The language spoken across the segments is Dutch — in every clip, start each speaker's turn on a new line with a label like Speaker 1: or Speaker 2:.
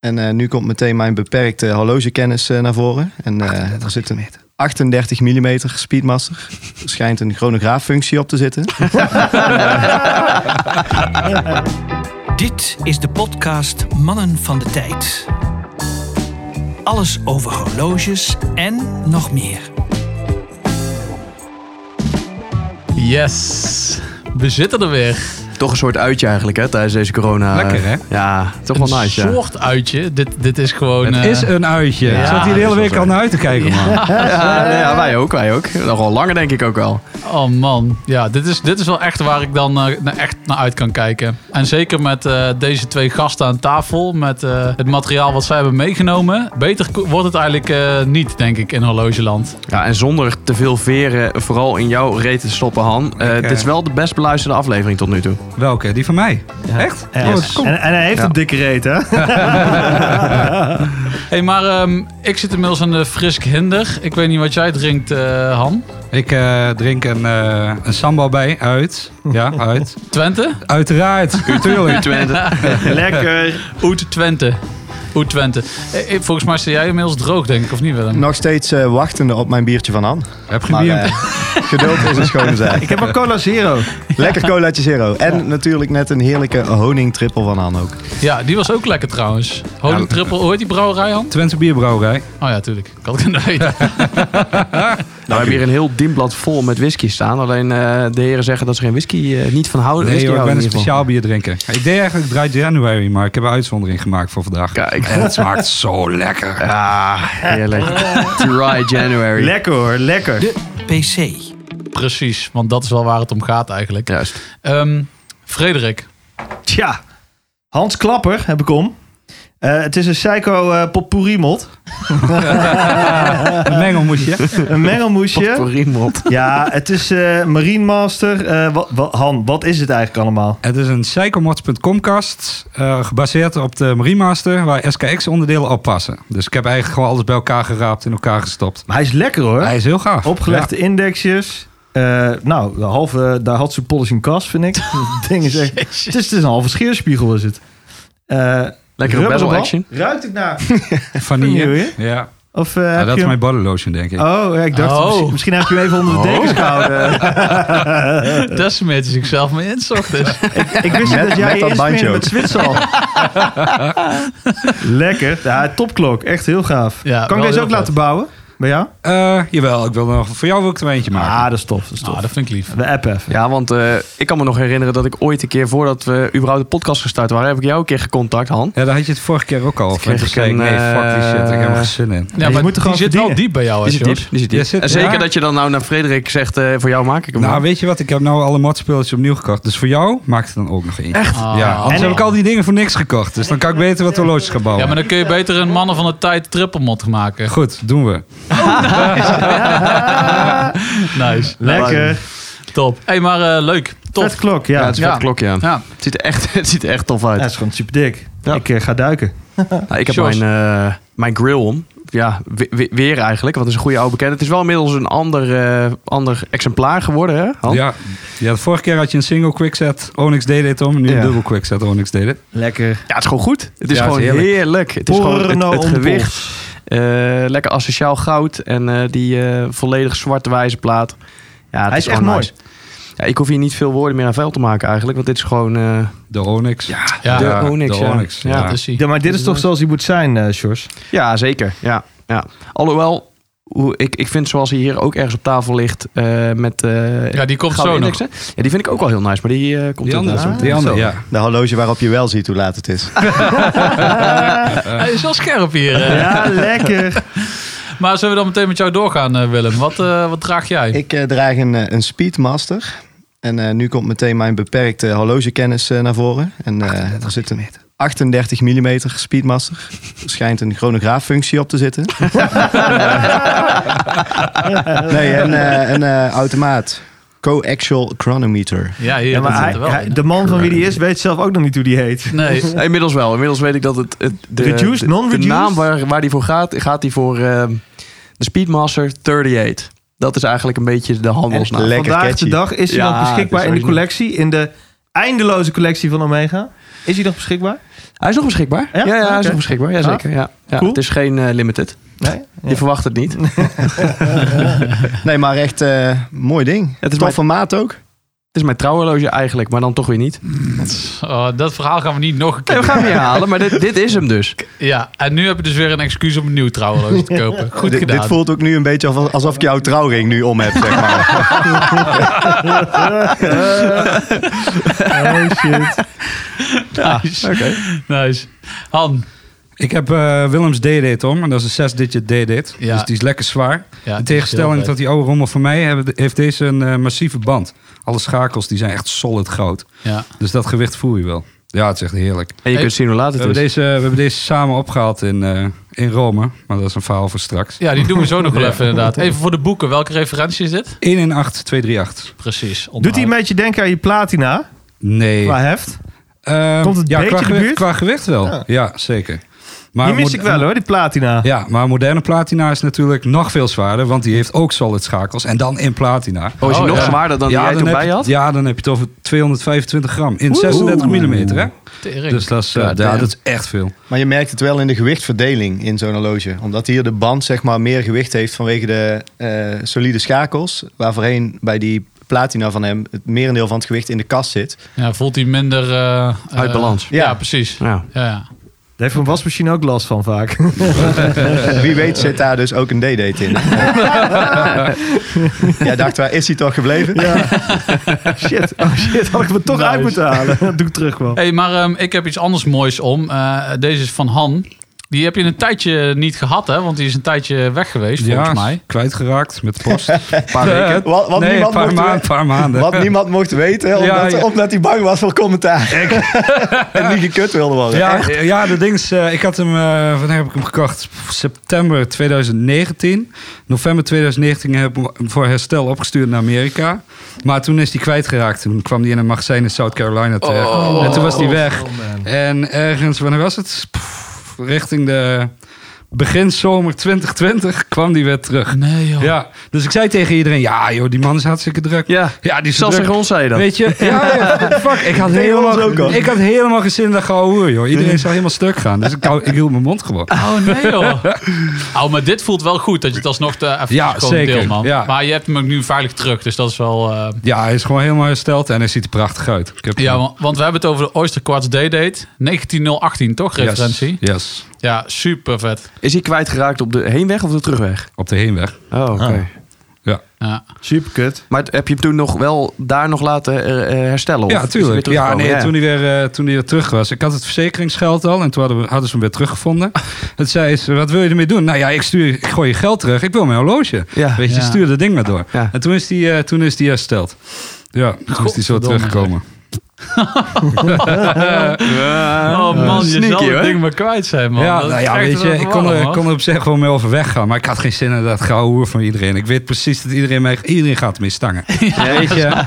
Speaker 1: En eh, nu komt meteen mijn beperkte horlogekennis eh, naar voren. En eh er zit een 38 mm Speedmaster. Er schijnt een chronograaffunctie op te zitten.
Speaker 2: Dit is de podcast Mannen van de Tijd. Alles over horloges en nog meer.
Speaker 3: Yes, we zitten er weer.
Speaker 4: Toch een soort uitje eigenlijk, hè, tijdens deze corona. eh,
Speaker 5: Lekker, hè?
Speaker 4: Ja, toch wel
Speaker 3: een
Speaker 4: nice, ja.
Speaker 3: soort uitje. Dit, dit is gewoon...
Speaker 5: Het
Speaker 3: eh,
Speaker 5: is een uitje.
Speaker 3: ja,
Speaker 5: Ik zat hier de hele
Speaker 4: dat is
Speaker 5: week
Speaker 4: wel
Speaker 5: al naar uit te kijken, man.
Speaker 4: Ja,
Speaker 5: eh,
Speaker 4: nee, ja, wij ook, wij ook. Nogal langer denk ik ook wel.
Speaker 3: Oh man, ja, dit is, dit is wel echt waar ik dan eh, naar- echt naar uit kan kijken. En zeker met eh, deze twee gasten aan tafel, met eh, het materiaal wat zij hebben meegenomen. Beter ko- wordt het eigenlijk eh, niet, denk ik, in horlogeland.
Speaker 4: Ja, en zonder te veel veren, vooral in jouw reet te stoppen, Han. Eh,
Speaker 5: Ik, eh,
Speaker 4: Dit is wel de best beluisterde aflevering tot nu toe.
Speaker 5: Welke? Die van mij. Echt?
Speaker 6: Ja,
Speaker 5: Oh,
Speaker 6: yes.
Speaker 5: kom.
Speaker 6: en, en hij heeft
Speaker 4: Ja.
Speaker 6: een dikke reet, hè?
Speaker 3: hey, maar ehm, ik zit inmiddels aan de Frisk Hinder. Ik weet niet wat jij drinkt, eh, Han.
Speaker 5: Ik eh, drink een, eh, een sambal bij uit. Ja, uit.
Speaker 3: Twente?
Speaker 5: Uiteraard. Natuurlijk.
Speaker 6: Lekker.
Speaker 3: Oet Twente. Oet Twente. Eh, eh, volgens mij sta jij inmiddels droog, denk ik, of niet Willem?
Speaker 1: Nog steeds eh, wachtende op mijn biertje van Han.
Speaker 5: Heb
Speaker 1: Maar
Speaker 5: gediend.
Speaker 1: eh, geduld is een schone zaak.
Speaker 6: Ik heb een Cola Zero.
Speaker 1: Lekker colaatje zero. En natuurlijk net een heerlijke honingtrippel van Han ook.
Speaker 3: Ja, die was ook lekker trouwens. Holy
Speaker 5: Ja,
Speaker 3: Triple, hoe heet die brouwerij, Han?
Speaker 5: Twente Bierbrouwerij.
Speaker 3: Oh ja, tuurlijk. Ik had het kunnen weten.
Speaker 4: Nou, we hebben hier een heel dimblad vol met whisky staan. Alleen eh, de heren zeggen dat ze geen whisky eh, niet van houden.
Speaker 5: Nee,
Speaker 4: Whisky
Speaker 5: joh, ik ben
Speaker 4: houden
Speaker 5: een
Speaker 4: in ieder
Speaker 5: speciaal bier drinken. Ik deed eigenlijk dry January, maar ik heb een uitzondering gemaakt voor vandaag.
Speaker 4: geval. Kijk.
Speaker 5: En het smaakt zo lekker.
Speaker 4: Ah, heerlijk. Dry January.
Speaker 6: Lekker hoor, lekker.
Speaker 2: De PC.
Speaker 3: Precies, want dat is wel waar het om gaat eigenlijk.
Speaker 4: Juist.
Speaker 3: Ehm, Frederik,
Speaker 6: Tja. Hans Klapper heb ik om. Eh, het is een psycho eh potpourri mod.
Speaker 5: Een mengelmoesje.
Speaker 6: Een mengelmoesje.
Speaker 4: Potpourri mot.
Speaker 6: Ja, het is eh Marine Master. Eh, wa- wa- Han, wat is het eigenlijk allemaal?
Speaker 5: Het is een psychomods.com kast, eh, gebaseerd op de Mariemaster, waar SKX onderdelen op passen. Dus ik heb eigenlijk gewoon alles bij elkaar geraapt, in elkaar gestopt.
Speaker 6: Maar hij is lekker hoor.
Speaker 5: Hij is heel gaaf.
Speaker 6: Opgelegde indexjes. Eh, nou, de halve, daar had ze polishing kast, vind ik. Dat ding is echt... Het is, het is een halve scheerspiegel is het. Eh
Speaker 4: Lekker
Speaker 6: rubberband.
Speaker 4: bezel action.
Speaker 6: Ruikt het naar?
Speaker 5: Ja. Vanille.
Speaker 6: Vanille?
Speaker 5: Ja,
Speaker 6: Of eh,
Speaker 5: Ja,
Speaker 6: heb
Speaker 5: dat
Speaker 6: je
Speaker 5: is
Speaker 6: hem-
Speaker 5: mijn body lotion, denk ik.
Speaker 6: Oh, ja, ik dacht,
Speaker 3: Oh.
Speaker 6: misschien, misschien heb je hem even onder de dekens gehouden.
Speaker 3: daar smeert hij zichzelf mee in, 's ochtends.
Speaker 6: Ik wist niet
Speaker 1: Met-
Speaker 6: dat jij
Speaker 1: met dat
Speaker 6: eerst
Speaker 1: bandje ook.
Speaker 6: meer met Zwitserland. Lekker. Ja, topklok. Echt heel gaaf.
Speaker 3: Ja,
Speaker 6: kan ik
Speaker 3: wel
Speaker 6: deze
Speaker 3: heel
Speaker 6: ook
Speaker 3: vet.
Speaker 6: laten bouwen? Bij jou?
Speaker 5: Eh, jawel, ik wil er nog, voor jou wil ik er eentje maken.
Speaker 6: Ah, dat is tof. Dat is tof.
Speaker 3: Ah, dat vind ik lief.
Speaker 6: We appen even.
Speaker 4: Ja, want eh, ik kan me nog herinneren dat ik ooit een keer, voordat we überhaupt de podcast gestart waren, heb ik jou een keer gecontact, Han.
Speaker 5: Ja, daar had je het vorige keer ook al over. En
Speaker 4: kreeg
Speaker 5: toen
Speaker 4: ik
Speaker 5: zei ik,
Speaker 4: een,
Speaker 5: nee, fuck die shit, ik heb er geen zin in.
Speaker 3: Ja,
Speaker 6: je
Speaker 3: maar
Speaker 6: moet
Speaker 3: die
Speaker 6: er gewoon
Speaker 3: zit wel
Speaker 6: verdienen.
Speaker 3: diep bij jou, hè,
Speaker 4: Is het
Speaker 3: Jos?
Speaker 4: diep? Is het diep?
Speaker 5: Ja, zit-
Speaker 4: en zeker
Speaker 5: ja.
Speaker 4: dat je dan nou naar Frederik zegt, eh, voor jou maak ik hem.
Speaker 5: Nou,
Speaker 4: wel.
Speaker 5: weet je wat? Ik heb nou alle modspulletjes opnieuw gekocht. Dus voor jou maakt het dan ook nog eentje. Echt?
Speaker 3: Ah.
Speaker 5: Ja, anders
Speaker 6: En-
Speaker 5: heb ik al die dingen voor niks gekocht. Dus dan kan ik beter wat horloges gaan bouwen.
Speaker 3: Ja, maar dan kun je beter een mannen van de tijd trippelmot maken.
Speaker 5: Goed, doen we.
Speaker 3: Nice.
Speaker 6: Lekker.
Speaker 3: Top. hey, maar eh, leuk. Top.
Speaker 6: Vet klok,
Speaker 4: ja,
Speaker 6: ja.
Speaker 4: het is een vet
Speaker 3: Ja.
Speaker 4: klokje aan.
Speaker 3: Ja,
Speaker 4: Het, ziet er echt, het ziet er echt tof
Speaker 6: Ja,
Speaker 4: uit.
Speaker 6: het is gewoon super dik.
Speaker 4: Ja.
Speaker 6: Ik eh, ga duiken.
Speaker 4: Nou, ik heb
Speaker 3: Sjors.
Speaker 4: mijn, eh, mijn grill om. Ja, we- we- weer eigenlijk, want het is een goede oude bekende. Het is wel inmiddels een ander, eh, ander exemplaar geworden, hè, Han?
Speaker 5: Ja. ja, de vorige keer had je een single quickset Onyx deed dit om. Nu
Speaker 4: Ja.
Speaker 5: een dubbel quickset Onyx deed dit.
Speaker 6: Lekker.
Speaker 4: Ja, het is gewoon goed. Het is
Speaker 5: Ja, het is
Speaker 4: gewoon heerlijk.
Speaker 5: heerlijk.
Speaker 4: Het is gewoon
Speaker 6: Porno
Speaker 4: het, het
Speaker 6: om de
Speaker 4: gewicht.
Speaker 6: pols.
Speaker 4: eh, lekker asociaal goud. En eh, die eh, volledig zwarte wijze plaat. Ja, het
Speaker 6: Hij is echt
Speaker 4: gewoon
Speaker 6: mooi.
Speaker 4: nice. Ja, ik hoef hier niet veel woorden meer aan vuil te maken eigenlijk. Want dit is gewoon... eh,
Speaker 5: De Onyx. Ja,
Speaker 3: Ja,
Speaker 4: de Onyx,
Speaker 5: De
Speaker 4: ja.
Speaker 5: Onyx, ja.
Speaker 4: Ja.
Speaker 3: dat is hij.
Speaker 6: Ja, maar dit is toch zoals hij moet zijn, eh Sjors?
Speaker 4: Ja, zeker. Ja, ja. Alhoewel, hoe, ik, ik vind zoals hij hier ook ergens op tafel ligt eh, met... eh,
Speaker 3: Ja, die komt
Speaker 4: gouden
Speaker 3: zo nog.
Speaker 4: indexen. Ja, die vind ik ook wel heel nice, maar die eh, komt
Speaker 5: Die andere,
Speaker 4: inderdaad
Speaker 5: die andere,
Speaker 4: Zo.
Speaker 5: ja.
Speaker 1: De horloge waarop je wel ziet hoe laat het is.
Speaker 3: Hij is wel scherp hier. eh.
Speaker 6: Ja, lekker.
Speaker 3: Maar zullen we dan meteen met jou doorgaan, eh, Willem? Wat, eh, wat draag jij?
Speaker 1: Ik eh, draag een, eh, een Speedmaster. En eh, nu komt meteen mijn beperkte horlogekennis eh, naar voren. En eh, er zit een 38 mm Speedmaster. Er schijnt een chronograaffunctie op te zitten. nee, en eh, een eh, automaat. Coaxial chronometer.
Speaker 3: Ja, hier,
Speaker 6: Ja, maar
Speaker 3: dat zit
Speaker 6: hij,
Speaker 3: er wel
Speaker 6: hij-
Speaker 3: in.
Speaker 6: de man van wie die is, weet zelf ook nog niet hoe die heet.
Speaker 3: Nee,
Speaker 4: Ja, Inmiddels wel. Inmiddels weet ik dat het... het de,
Speaker 6: Reduced,
Speaker 4: de- De
Speaker 6: non-reduced?
Speaker 4: naam waar, waar die voor gaat, gaat die voor eh, de Speedmaster 38. Dat is eigenlijk een beetje de handelsnaam.
Speaker 1: En nou, Lekker
Speaker 6: Vandaag
Speaker 1: catchy.
Speaker 6: de dag is hij
Speaker 4: Ja,
Speaker 6: nog
Speaker 4: het
Speaker 6: beschikbaar
Speaker 4: is
Speaker 6: in de
Speaker 4: origineel.
Speaker 6: collectie, in de eindeloze collectie van Omega. Is hij nog beschikbaar?
Speaker 4: Hij is nog beschikbaar. Ja,
Speaker 6: Ja?
Speaker 4: Ah. ja, hij
Speaker 6: Oké.
Speaker 4: is nog beschikbaar. Jazeker. Ja. Ja,
Speaker 6: Cool.
Speaker 4: Het is geen eh, limited.
Speaker 6: Nee? Ja.
Speaker 4: Je verwacht het niet.
Speaker 1: Nee, maar echt eh, mooi ding.
Speaker 4: Het
Speaker 1: Het
Speaker 4: is
Speaker 1: is
Speaker 4: mijn-
Speaker 1: tof formaat ook.
Speaker 4: Het is mijn trouwhorloge eigenlijk, maar dan toch weer niet.
Speaker 3: Oh, dat verhaal gaan we niet nog een keer
Speaker 4: Nee, we gaan hem niet herhalen, maar dit, dit is hem dus.
Speaker 3: Ja, en nu heb je dus weer een excuus om een nieuw trouwloos te kopen. Goed
Speaker 1: Dit-
Speaker 3: gedaan.
Speaker 1: Dit voelt ook nu een beetje alsof- alsof ik jouw trouwring nu om heb, zeg maar.
Speaker 6: Oh shit.
Speaker 3: nice. nice. Han,
Speaker 5: Ik heb eh, Willems D-Date om. En dat is een 6-digit D-Date.
Speaker 3: Ja.
Speaker 5: Dus die is lekker zwaar.
Speaker 3: Ja,
Speaker 5: In tegenstelling tot die oude rommel van mij hebben- heeft deze een eh, massieve band. Alle schakels die zijn echt solid groot.
Speaker 3: ja.
Speaker 5: Dus dat gewicht voel je wel. Ja, het is echt heerlijk.
Speaker 4: En je
Speaker 3: Hey,
Speaker 4: kunt zien hoe laat
Speaker 5: We
Speaker 4: het
Speaker 5: hebben,
Speaker 4: is.
Speaker 5: deze, we hebben deze samen opgehaald in, eh, in Rome. Maar dat is een verhaal voor straks.
Speaker 3: ja, die doen we zo nog wel even inderdaad. Even voor de boeken, welke referentie is dit?
Speaker 5: 1 in 8, 2, 3, 8.
Speaker 3: Precies.
Speaker 6: Doet hij een beetje denken aan je platina
Speaker 5: Nee.
Speaker 6: qua heft?
Speaker 5: Ehm,
Speaker 6: Komt het
Speaker 5: ja,
Speaker 6: beetje
Speaker 5: qua
Speaker 6: de
Speaker 5: gewicht,
Speaker 6: buurt?
Speaker 5: qua gewicht wel. Ja, zeker. Maar
Speaker 6: Die mis
Speaker 5: mod-
Speaker 6: ik wel hoor, die platina.
Speaker 5: Ja, maar moderne platina is natuurlijk nog veel zwaarder. Want die heeft ook solid schakels. En dan in platina.
Speaker 4: Oh, is hij
Speaker 3: Oh,
Speaker 4: nog
Speaker 3: ja.
Speaker 4: zwaarder dan die jij
Speaker 5: dan
Speaker 4: toen
Speaker 5: heb
Speaker 4: bij
Speaker 5: je,
Speaker 4: had?
Speaker 5: ja, dan heb je het over 225 gram. In 36 mm, hè? Dus
Speaker 3: Dus
Speaker 5: dat is, eh,
Speaker 4: Ja,
Speaker 5: ja,
Speaker 4: damn.
Speaker 5: dat is echt veel.
Speaker 1: Maar je merkt het wel in de gewichtverdeling in zo'n horloge. Omdat hier de band zeg maar, meer gewicht heeft vanwege de eh, solide schakels. Waar voorheen bij die platina van hem het merendeel van het gewicht in de kast zit.
Speaker 3: ja, voelt hij minder... eh, eh,
Speaker 4: Uit balans.
Speaker 3: Ja,
Speaker 1: Ja.
Speaker 3: precies.
Speaker 4: Ja.
Speaker 3: Ja, ja.
Speaker 6: Daar heeft een wasmachine ook last van vaak.
Speaker 1: Wie weet zit daar dus ook een D-date in. Jij dacht, waar is hij toch gebleven?
Speaker 6: shit, oh shit, had ik me toch uit moeten halen. Dat doe ik terug wel.
Speaker 3: Hey, maar ehm, ik heb iets anders moois om. Eh, deze is van Han. Die heb je een tijdje niet gehad, hè? Want die is een tijdje weg geweest, volgens mij.
Speaker 5: kwijtgeraakt met de post.
Speaker 4: Paar
Speaker 5: Eh,
Speaker 4: weken.
Speaker 1: Wat, wat,
Speaker 5: nee, een
Speaker 1: niemand
Speaker 5: paar,
Speaker 1: mocht,
Speaker 5: maanden,
Speaker 1: we-
Speaker 5: paar maanden.
Speaker 1: wat niemand mocht weten, omdat,
Speaker 5: Ja, ja.
Speaker 1: omdat hij bang was voor commentaar. en niet gekut wilde worden.
Speaker 5: Ja, ja, dat ding is, eh, ik had hem, eh wanneer heb ik hem gekocht? September 2019. November 2019 heb ik hem voor herstel opgestuurd naar Amerika. Maar toen is hij kwijtgeraakt. Toen kwam hij in een magazijn in South Carolina terecht.
Speaker 4: Oh.
Speaker 5: en toen was hij weg. en ergens, wanneer was het? Pff, richting de begin zomer 2020 kwam hij weer terug.
Speaker 3: Nee, joh.
Speaker 5: Ja, dus ik zei tegen iedereen, ja joh, die man is hartstikke druk.
Speaker 4: Ja,
Speaker 5: Ja, die is
Speaker 4: zelfs
Speaker 5: zo druk.
Speaker 4: tegen ons zei je dat.
Speaker 5: Weet je, ja, ja, fuck, ik had,
Speaker 1: ons ook
Speaker 5: helemaal,
Speaker 1: al.
Speaker 5: ik had helemaal geen zin in dat gouden hoer, joh. Iedereen zou helemaal stuk gaan, dus ik, hou- ik hield mijn mond gewoon.
Speaker 3: Oh nee joh. oh, maar dit voelt wel goed dat je het alsnog eh, even
Speaker 5: Ja,
Speaker 3: gewoon
Speaker 5: zeker,
Speaker 3: deel, man.
Speaker 5: ja.
Speaker 3: Maar je hebt hem ook nu veilig terug, dus dat is wel... eh,
Speaker 5: Ja, hij is gewoon helemaal hersteld en hij ziet er prachtig uit. Ik heb
Speaker 3: ja, wa- want we hebben het over de Oyster Quartz Day-Date. 1918, toch?
Speaker 5: Yes,
Speaker 3: Referentie.
Speaker 5: Yes,
Speaker 3: Ja, super vet.
Speaker 4: Is hij kwijtgeraakt op de heenweg of de terugweg?
Speaker 5: op de heenweg.
Speaker 4: Oh, oké.
Speaker 6: Ah.
Speaker 3: Ja.
Speaker 6: Super kut.
Speaker 4: Maar heb je hem toen nog wel daar nog laten eh, eh, herstellen? Of
Speaker 5: Ja,
Speaker 4: is hij weer
Speaker 5: tuurlijk. Ja,
Speaker 4: teruggekomen?
Speaker 5: nee, Toen, hij weer, eh, toen hij weer terug was. Ik had het verzekeringsgeld al en toen hadden, we, hadden ze hem weer teruggevonden. Het zei ze, wat wil je ermee doen? Nou ja, ik, stuur, ik gooi je geld terug. Ik wil mijn horloge.
Speaker 4: Ja.
Speaker 5: Weet je,
Speaker 3: Ja.
Speaker 5: stuur dat ding maar door.
Speaker 4: Ja.
Speaker 5: En toen is die, eh, toen is die hersteld. Ja, toen is die zo
Speaker 3: Godverdomme,
Speaker 5: teruggekomen.
Speaker 3: oh man, je zal
Speaker 4: sneaky,
Speaker 3: het
Speaker 4: hoor.
Speaker 3: ding maar kwijt zijn, man.
Speaker 5: Ja,
Speaker 3: Dat
Speaker 5: nou ja,
Speaker 3: krijgt
Speaker 5: weet
Speaker 3: het
Speaker 5: je,
Speaker 3: wel
Speaker 5: ik kon,
Speaker 3: warm,
Speaker 5: er, ik
Speaker 3: hoor.
Speaker 5: kon er op zich gewoon mee overweg gaan. Maar ik had geen zin in dat gouden hoer van iedereen. Ik weet precies dat iedereen, mij, iedereen gaat mee stangen. weet je,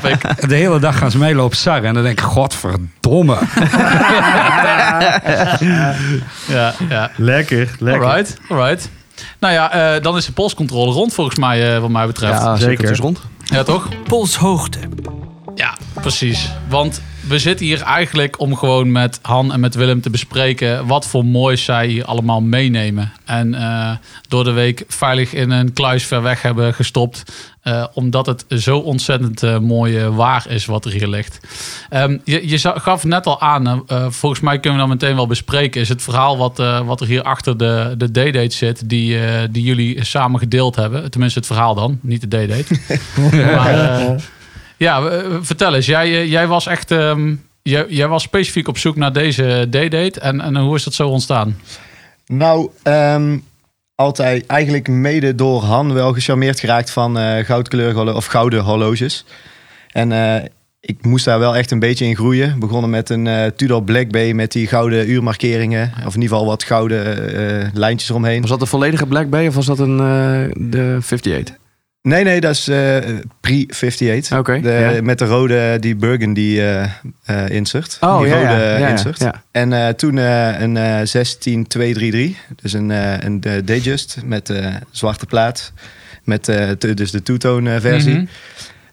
Speaker 5: de hele dag gaan ze mij lopen sarren. En dan denk ik, godverdomme.
Speaker 3: Ja, ja.
Speaker 6: Lekker, lekker.
Speaker 3: Alright, alright. Nou ja, eh, dan is de polscontrole rond volgens mij, eh, wat mij betreft.
Speaker 4: Ja,
Speaker 6: Zeker.
Speaker 4: zeker. Het is rond.
Speaker 3: ja toch?
Speaker 2: Polshoogte.
Speaker 3: Ja, precies. Want we zitten hier eigenlijk om gewoon met Han en met Willem te bespreken wat voor moois zij hier allemaal meenemen. En eh, door de week veilig in een kluis ver weg hebben gestopt. eh, omdat het zo ontzettend eh, mooi eh, waar is wat er hier ligt. Ehm, je, je za- gaf net al aan, eh, eh, volgens mij kunnen we dan meteen wel bespreken. Is het verhaal wat, eh, wat er hier achter de, de D-date zit, die, eh, die jullie samen gedeeld hebben. Tenminste, het verhaal dan, niet de D-date. maar, eh, ja, eh, vertel eens. Jij, eh, jij was echt. ehm, jij, jij was specifiek op zoek naar deze D-date. En, en hoe is dat zo ontstaan?
Speaker 1: Nou, ehm, altijd eigenlijk mede door Han wel gecharmeerd geraakt van eh goudkleurige horlo- of gouden horloges. En eh, ik moest daar wel echt een beetje in groeien. Begonnen met een eh, Tudor Black Bay met die gouden uurmarkeringen. Of in ieder geval wat gouden eh, lijntjes omheen.
Speaker 4: Was dat een volledige Black Bay of was dat een eh, de 58?
Speaker 1: Nee, nee, dat is eh, pre-58.
Speaker 4: Oké.
Speaker 1: De-
Speaker 4: ja.
Speaker 1: Met de rode, die burgundy eh eh, insert. die rode insert.
Speaker 4: Oh, ja.
Speaker 1: En eh, toen eh, een eh 16233, dus een, eh een eh, Datejust met eh, zwarte plaat. Met eh, te- dus de two-tone eh, versie.
Speaker 3: Mhm.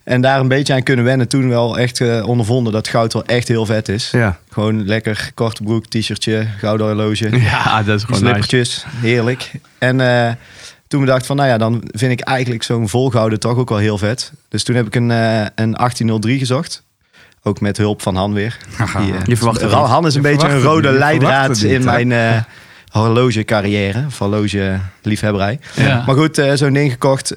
Speaker 1: En daar een beetje aan kunnen wennen. Toen wel echt eh, ondervonden dat goud wel echt heel vet is.
Speaker 4: Ja.
Speaker 1: Gewoon lekker korte broek, t-shirtje, gouden horloge.
Speaker 4: ja, dat is gewoon nice.
Speaker 1: Slippertjes, heerlijk. En eh, toen bedacht van, nou ja, dan vind ik eigenlijk zo'n volgehouden toch ook wel heel vet. Dus toen heb ik een, eh, een 1803 gezocht. Ook met hulp van Han weer. Die, eh,
Speaker 4: Je verwacht het
Speaker 1: Ra-
Speaker 4: niet.
Speaker 1: Han is een
Speaker 5: Ah, Je
Speaker 1: beetje een
Speaker 5: verwacht het
Speaker 1: rode
Speaker 5: niet. Je
Speaker 1: leidraad
Speaker 5: verwacht het
Speaker 1: in
Speaker 5: niet, hè?
Speaker 1: mijn eh horlogecarrière. Of horlogeliefhebberij.
Speaker 5: Ah.
Speaker 3: Ja.
Speaker 1: Maar goed, eh, zo'n ding gekocht.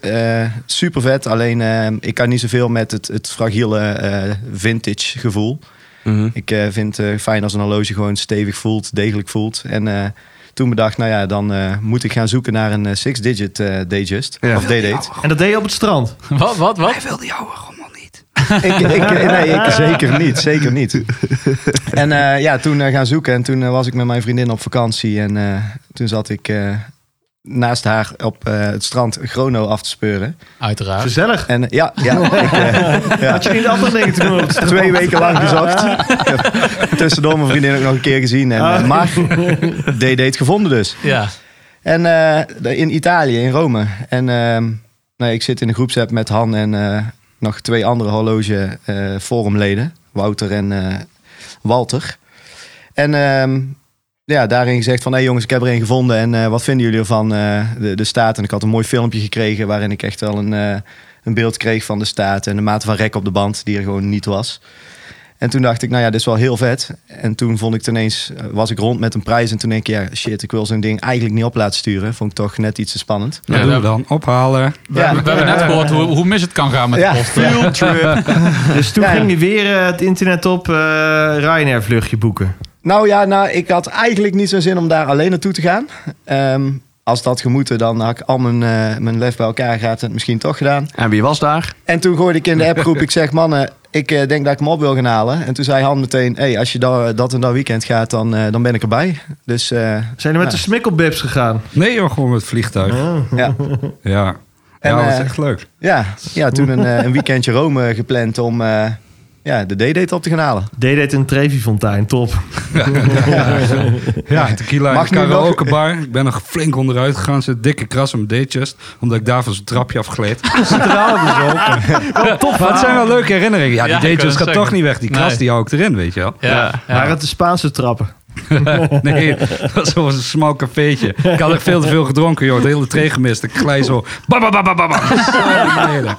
Speaker 1: super vet. Alleen eh, ik kan niet zoveel met het, het fragiele eh, vintage gevoel.
Speaker 4: Mhm.
Speaker 1: Ik eh, vind het fijn als een horloge gewoon stevig voelt, degelijk voelt. En eh, toen bedacht, nou ja, dan eh, moet ik gaan zoeken naar een eh, six-digit eh, dayjust.
Speaker 4: Ja.
Speaker 1: Of daydate.
Speaker 6: En dat deed je op het strand.
Speaker 3: Wat, wat, wat?
Speaker 5: Wil die oude rommel niet.
Speaker 1: ik, ik, nee, ik zeker niet, zeker niet. En eh, ja, toen eh, gaan zoeken. En toen eh, was ik met mijn vriendin op vakantie. En eh, toen zat ik eh, naast haar op eh, het strand Chrono af te speuren.
Speaker 3: Uiteraard.
Speaker 6: Gezellig.
Speaker 1: En eh, ja, ja, ik, eh, ja.
Speaker 6: Had je geen andere dingen te doen op het strand?
Speaker 1: twee weken lang
Speaker 6: dus
Speaker 1: gezocht. Ik heb Tussendoor mijn vriendin ook nog een keer gezien. En, eh, maar D-date gevonden dus.
Speaker 3: Ja.
Speaker 1: En eh, de- in Italië, in Rome. En ehm, nee, ik zit in een groepsapp met Han en eh, nog twee andere horloge eh, forumleden. Wouter en eh, Walter. En ehm, ja, daarin gezegd van... hé jongens, ik heb er een gevonden. En eh, wat vinden jullie ervan, eh, de, de staat? En ik had een mooi filmpje gekregen... waarin ik echt wel een, eh, een beeld kreeg van de staat... en de mate van rek op de band, die er gewoon niet was. En toen dacht ik, nou ja, dit is wel heel vet. En toen vond ik het ineens, eh, was ik rond met een prijs. En toen denk ik, ja, shit, ik wil zo'n ding eigenlijk niet op laten sturen. Vond ik toch net iets te spannend.
Speaker 5: Wat
Speaker 3: Ja,
Speaker 5: doen we
Speaker 3: dat-
Speaker 5: dan? Ophalen.
Speaker 3: We, hebben- we hebben net gehoord hoe, hoe mis het kan gaan met
Speaker 1: Ja.
Speaker 3: de post. Ja.
Speaker 6: Dus toen
Speaker 1: Ja, ja.
Speaker 6: ging je weer eh, het internet op eh Ryanair vluchtje boeken.
Speaker 1: Nou ja, nou, ik had eigenlijk niet zo'n zin om daar alleen naartoe te gaan. Ehm, als dat gemoeten, dan had ik al mijn, eh, mijn lef bij elkaar gehad en het misschien toch gedaan.
Speaker 4: En wie was daar?
Speaker 1: En toen gooide ik in de appgroep, ik zeg, mannen, ik eh, denk dat ik hem op wil gaan halen. En toen zei Han meteen, hey, als je da- dat en dat weekend gaat, dan, eh, dan ben ik erbij. Dus eh,
Speaker 6: Zijn er met
Speaker 1: Ja.
Speaker 6: de smikkelbibs gegaan?
Speaker 5: Nee, joh, gewoon met het vliegtuig.
Speaker 1: ja,
Speaker 5: Ja.
Speaker 1: En,
Speaker 5: ja, dat is
Speaker 1: eh,
Speaker 5: echt leuk.
Speaker 1: ja, ja, toen een, eh, een weekendje Rome gepland om eh, ja, de D-date op te gaan halen.
Speaker 6: Deed het in Trevifontein, top.
Speaker 5: Ja, tequila
Speaker 1: Mag
Speaker 5: Mag
Speaker 1: nu nog-
Speaker 5: karaoke bar. Ik ben nog flink onderuit gegaan. Zit dikke kras om datejust. Omdat ik daar van zo'n trapje afgleed. Zit er wel dus open. Top, Wat zijn wel leuke herinneringen. Ja, die
Speaker 3: Ja, ik
Speaker 5: datejust
Speaker 3: wou
Speaker 5: gaat
Speaker 3: het
Speaker 5: toch
Speaker 3: zeggen.
Speaker 5: niet weg. Die kras
Speaker 3: Nee.
Speaker 5: die hou ik erin, weet je wel.
Speaker 3: Ja.
Speaker 6: Waren het de Spaanse trappen?
Speaker 5: Nee, dat was zo'n smal cafeetje. Ik had echt veel te veel gedronken, joh. De hele tree gemist. Ik glij zo. Bam, bam, bam, bam, bam, bam. Zo naar beneden.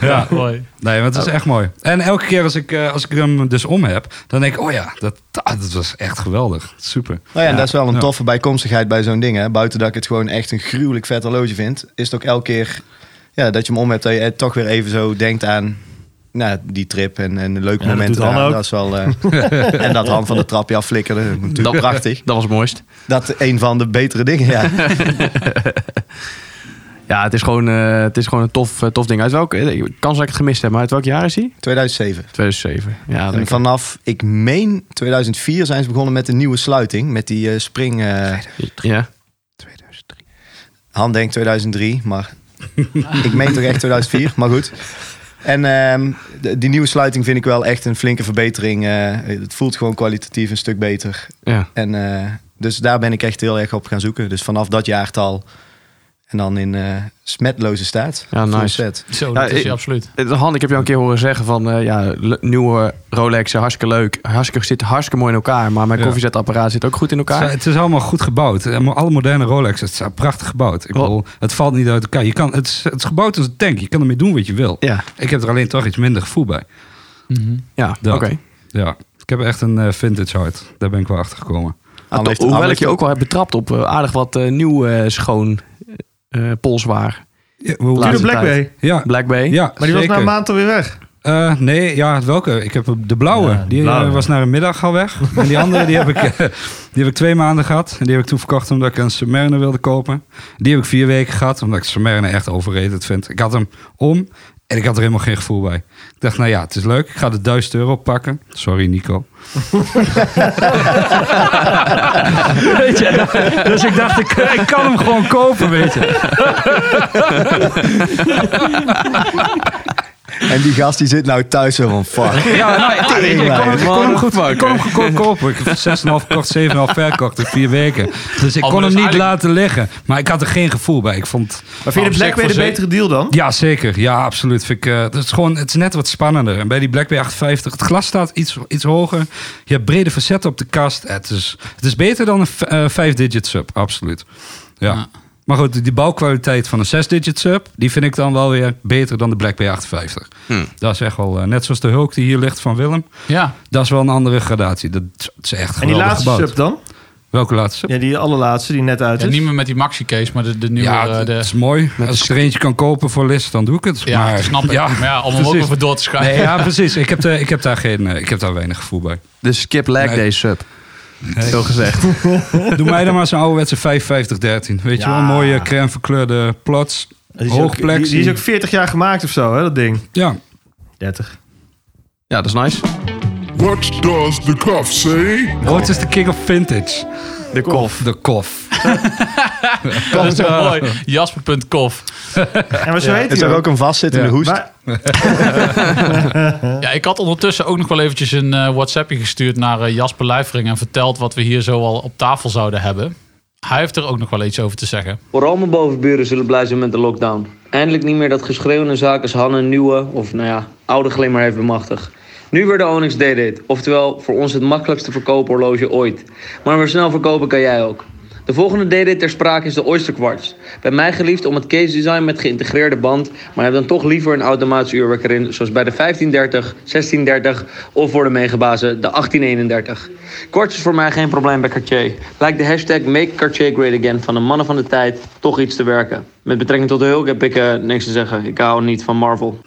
Speaker 3: Ja, mooi.
Speaker 5: Nee, maar het is echt mooi. En elke keer als ik, eh, als ik hem dus om heb, dan denk ik, oh ja, dat, dat was echt geweldig. Super.
Speaker 1: Nou ja, en dat is wel een
Speaker 5: Ja.
Speaker 1: toffe bijkomstigheid bij zo'n ding. Hè? Buiten dat ik het gewoon echt een gruwelijk vet horloge vind, is het ook elke keer ja, dat je hem om hebt, dat je eh, toch weer even zo denkt aan nou, die trip en, en de leuke
Speaker 6: Ja, dat
Speaker 1: momenten.
Speaker 6: doet Han
Speaker 1: eraan.
Speaker 6: ook.
Speaker 1: Dat is wel, eh, en dat Han van de trapje afflikkerde, natuurlijk
Speaker 4: Dat-
Speaker 1: prachtig.
Speaker 4: Dat was het mooist.
Speaker 1: Dat een van de betere dingen, ja.
Speaker 4: Ja, het is gewoon, eh, het is gewoon een tof, eh, tof ding. Uit welk, eh, ik- kans dat ik het gemist heb, maar uit welk jaar is die?
Speaker 1: 2007.
Speaker 4: 2007. Ja,
Speaker 1: En
Speaker 4: denk ik.
Speaker 1: vanaf, ik meen, 2004 zijn ze begonnen met een nieuwe sluiting. Met die eh, spring. eh
Speaker 4: ja.
Speaker 1: Han denkt 2003, maar ik meen toch echt 2004, maar goed. En ehm, de- die nieuwe sluiting vind ik wel echt een flinke verbetering. eh, het voelt gewoon kwalitatief een stuk beter.
Speaker 4: ja.
Speaker 1: En, eh, dus daar ben ik echt heel erg op gaan zoeken. Dus vanaf dat jaartal en dan in eh, smetloze staat.
Speaker 4: Ja,
Speaker 1: Full
Speaker 4: nice.
Speaker 1: set.
Speaker 3: Zo, dat
Speaker 4: Ja,
Speaker 3: is je
Speaker 4: ik-
Speaker 3: absoluut.
Speaker 4: Eh, Han, ik heb jou een keer horen zeggen van eh, ja, le- nieuwe Rolex, eh, hartstikke leuk. Hartstikke, zit hartstikke mooi in elkaar. Maar mijn
Speaker 5: Ja.
Speaker 4: koffiezetapparaat zit ook goed in
Speaker 5: Het
Speaker 4: elkaar.
Speaker 5: is, het is allemaal goed gebouwd. En Alle moderne Rolex, het is prachtig gebouwd. Ik
Speaker 4: Wel-
Speaker 5: bedoel, het valt niet uit elkaar. Je kan, het, is, het is gebouwd als een tank. Je kan ermee doen wat je wil.
Speaker 4: Ja,
Speaker 5: Ik heb er alleen toch iets minder gevoel bij.
Speaker 4: ja oké.
Speaker 5: Dat. Ja, ik heb echt een eh, vintage hart. Daar ben ik wel achter gekomen.
Speaker 1: Han heeft-
Speaker 4: Ah, toch,
Speaker 1: Han
Speaker 4: hoewel ik
Speaker 1: heeft
Speaker 4: je
Speaker 1: ook-
Speaker 4: ook wel heb betrapt op eh, aardig wat eh, nieuw eh, schoon eh polswaar.
Speaker 5: Ja,
Speaker 4: Laat-
Speaker 6: Tudor
Speaker 4: Laatste
Speaker 6: Black
Speaker 4: tijd.
Speaker 6: Bay.
Speaker 5: ja,
Speaker 4: Black Bay.
Speaker 5: ja
Speaker 6: Maar die was nou na
Speaker 5: zeker.
Speaker 6: een maand alweer weg.
Speaker 5: Eh, nee, ja, welke? Ik heb de blauwe.
Speaker 6: Ja, de
Speaker 5: die eh,
Speaker 6: blauwe.
Speaker 5: was naar een middag al weg. En die andere die heb, ik, eh, die heb ik twee maanden gehad. En die heb ik toen verkocht omdat ik een Submariner wilde kopen. Die heb ik vier weken gehad omdat ik Submariner echt overrated vind. Ik had hem om en ik had er helemaal geen gevoel bij. Ik dacht, nou ja, het is leuk. Ik ga de 1000 euro pakken. Sorry, Nico. weet je, dus ik dacht, ik, ik kan hem gewoon kopen, weet je.
Speaker 1: En die gast die zit nou thuis zo van fuck.
Speaker 5: Ja, nou, ik- ik- ik kon hem- ik kon hem goed
Speaker 4: maken.
Speaker 5: Ik kon hem goedkoop kopen. Ik heb 6,5 verkocht, 7,5 verkocht in vier weken. Dus ik
Speaker 3: Oh,
Speaker 5: kon
Speaker 3: maar
Speaker 5: hem
Speaker 3: dat is
Speaker 5: niet
Speaker 3: eigenlijk-
Speaker 5: laten liggen. Maar ik had er geen gevoel bij. Ik vond...
Speaker 6: Maar vind je de
Speaker 3: Op zich
Speaker 6: Blackberry de
Speaker 3: voor ze-
Speaker 6: betere deal dan?
Speaker 5: Ja, zeker. Ja, absoluut. Vind ik, eh, dat is gewoon, het is net wat spannender. En bij die BlackBerry 58, het glas staat iets, iets hoger. Je hebt brede facetten op de kast. Eh, Het is, het is beter dan een 5-digit sub, absoluut. Ja.
Speaker 3: Ja.
Speaker 5: Maar goed, die bouwkwaliteit van een 6-digit sub... die vind ik dan wel weer beter dan de BlackBerry 58. Dat is echt wel... eh, net zoals de Hulk die hier ligt van Willem.
Speaker 3: Ja,
Speaker 5: Dat is wel een andere gradatie. Dat is- het is echt
Speaker 6: En die
Speaker 5: geweldig
Speaker 6: laatste
Speaker 5: gebouwd.
Speaker 6: sub dan?
Speaker 5: Welke laatste sub?
Speaker 6: Ja, die allerlaatste die net uit
Speaker 3: Ja,
Speaker 6: is.
Speaker 3: niet meer met die maxi-case, maar de, de nieuwe...
Speaker 5: Ja,
Speaker 3: eh,
Speaker 5: het
Speaker 3: de,
Speaker 5: is mooi. Als ik er eentje kan kopen voor list, dan doe ik het.
Speaker 3: ja
Speaker 5: maar,
Speaker 3: dat snap ik.
Speaker 5: Ja,
Speaker 3: maar ja, om hem ook
Speaker 5: precies.
Speaker 3: even door te schuiven.
Speaker 5: Nee, ja, precies. Ik heb, de, ik, heb daar geen, eh, ik heb daar weinig gevoel bij.
Speaker 4: Dus skip lag
Speaker 5: Nee.
Speaker 4: day sub. Zo gezegd.
Speaker 5: Doe mij dan maar zo'n ouderwetse 5513. Weet je wel, mooie crème verkleurde plots.
Speaker 6: Die is, ook, die,
Speaker 5: Hoogplexie.
Speaker 6: die is ook 40 jaar gemaakt of zo, hè, dat ding.
Speaker 5: Ja,
Speaker 6: 30.
Speaker 4: Ja, dat is nice.
Speaker 7: What does the cuff say?
Speaker 5: Rood is de king of vintage.
Speaker 6: De kof.
Speaker 5: De kof.
Speaker 3: dat is toch mooi. Jasper.cof.
Speaker 6: En maar zo heet
Speaker 1: Het
Speaker 6: die
Speaker 1: is ook een vastzittende
Speaker 5: Ja.
Speaker 1: hoest.
Speaker 6: Maar,
Speaker 3: Ja, ik had ondertussen ook nog wel eventjes een eh, WhatsAppje gestuurd naar eh, Jasper Luifering... en verteld wat we hier zo al op tafel zouden hebben. Hij heeft er ook nog wel iets over te zeggen.
Speaker 8: Vooral mijn bovenburen zullen blij zijn met de lockdown. Eindelijk niet meer dat geschreeuw in zaken als Hanne een nieuwe, of nou ja, oude glimmer heeft bemachtigd. Nu weer de Onyx D-Date, oftewel voor ons het makkelijkste verkoophorloge ooit. Maar weer snel verkopen kan jij ook. De volgende D-Date ter sprake is de Oyster Quartz. Bij mij geliefd om het case design met geïntegreerde band, maar heb dan toch liever een automatisch uurwerk erin, zoals bij de 1530, 1630 of voor de megabazen de 1831. Quartz is voor mij geen probleem bij Cartier. Lijkt de hashtag Make Cartier Great Again van de mannen van de tijd toch iets te werken. Met betrekking tot de Hulk heb ik eh, niks te zeggen. Ik hou niet van Marvel.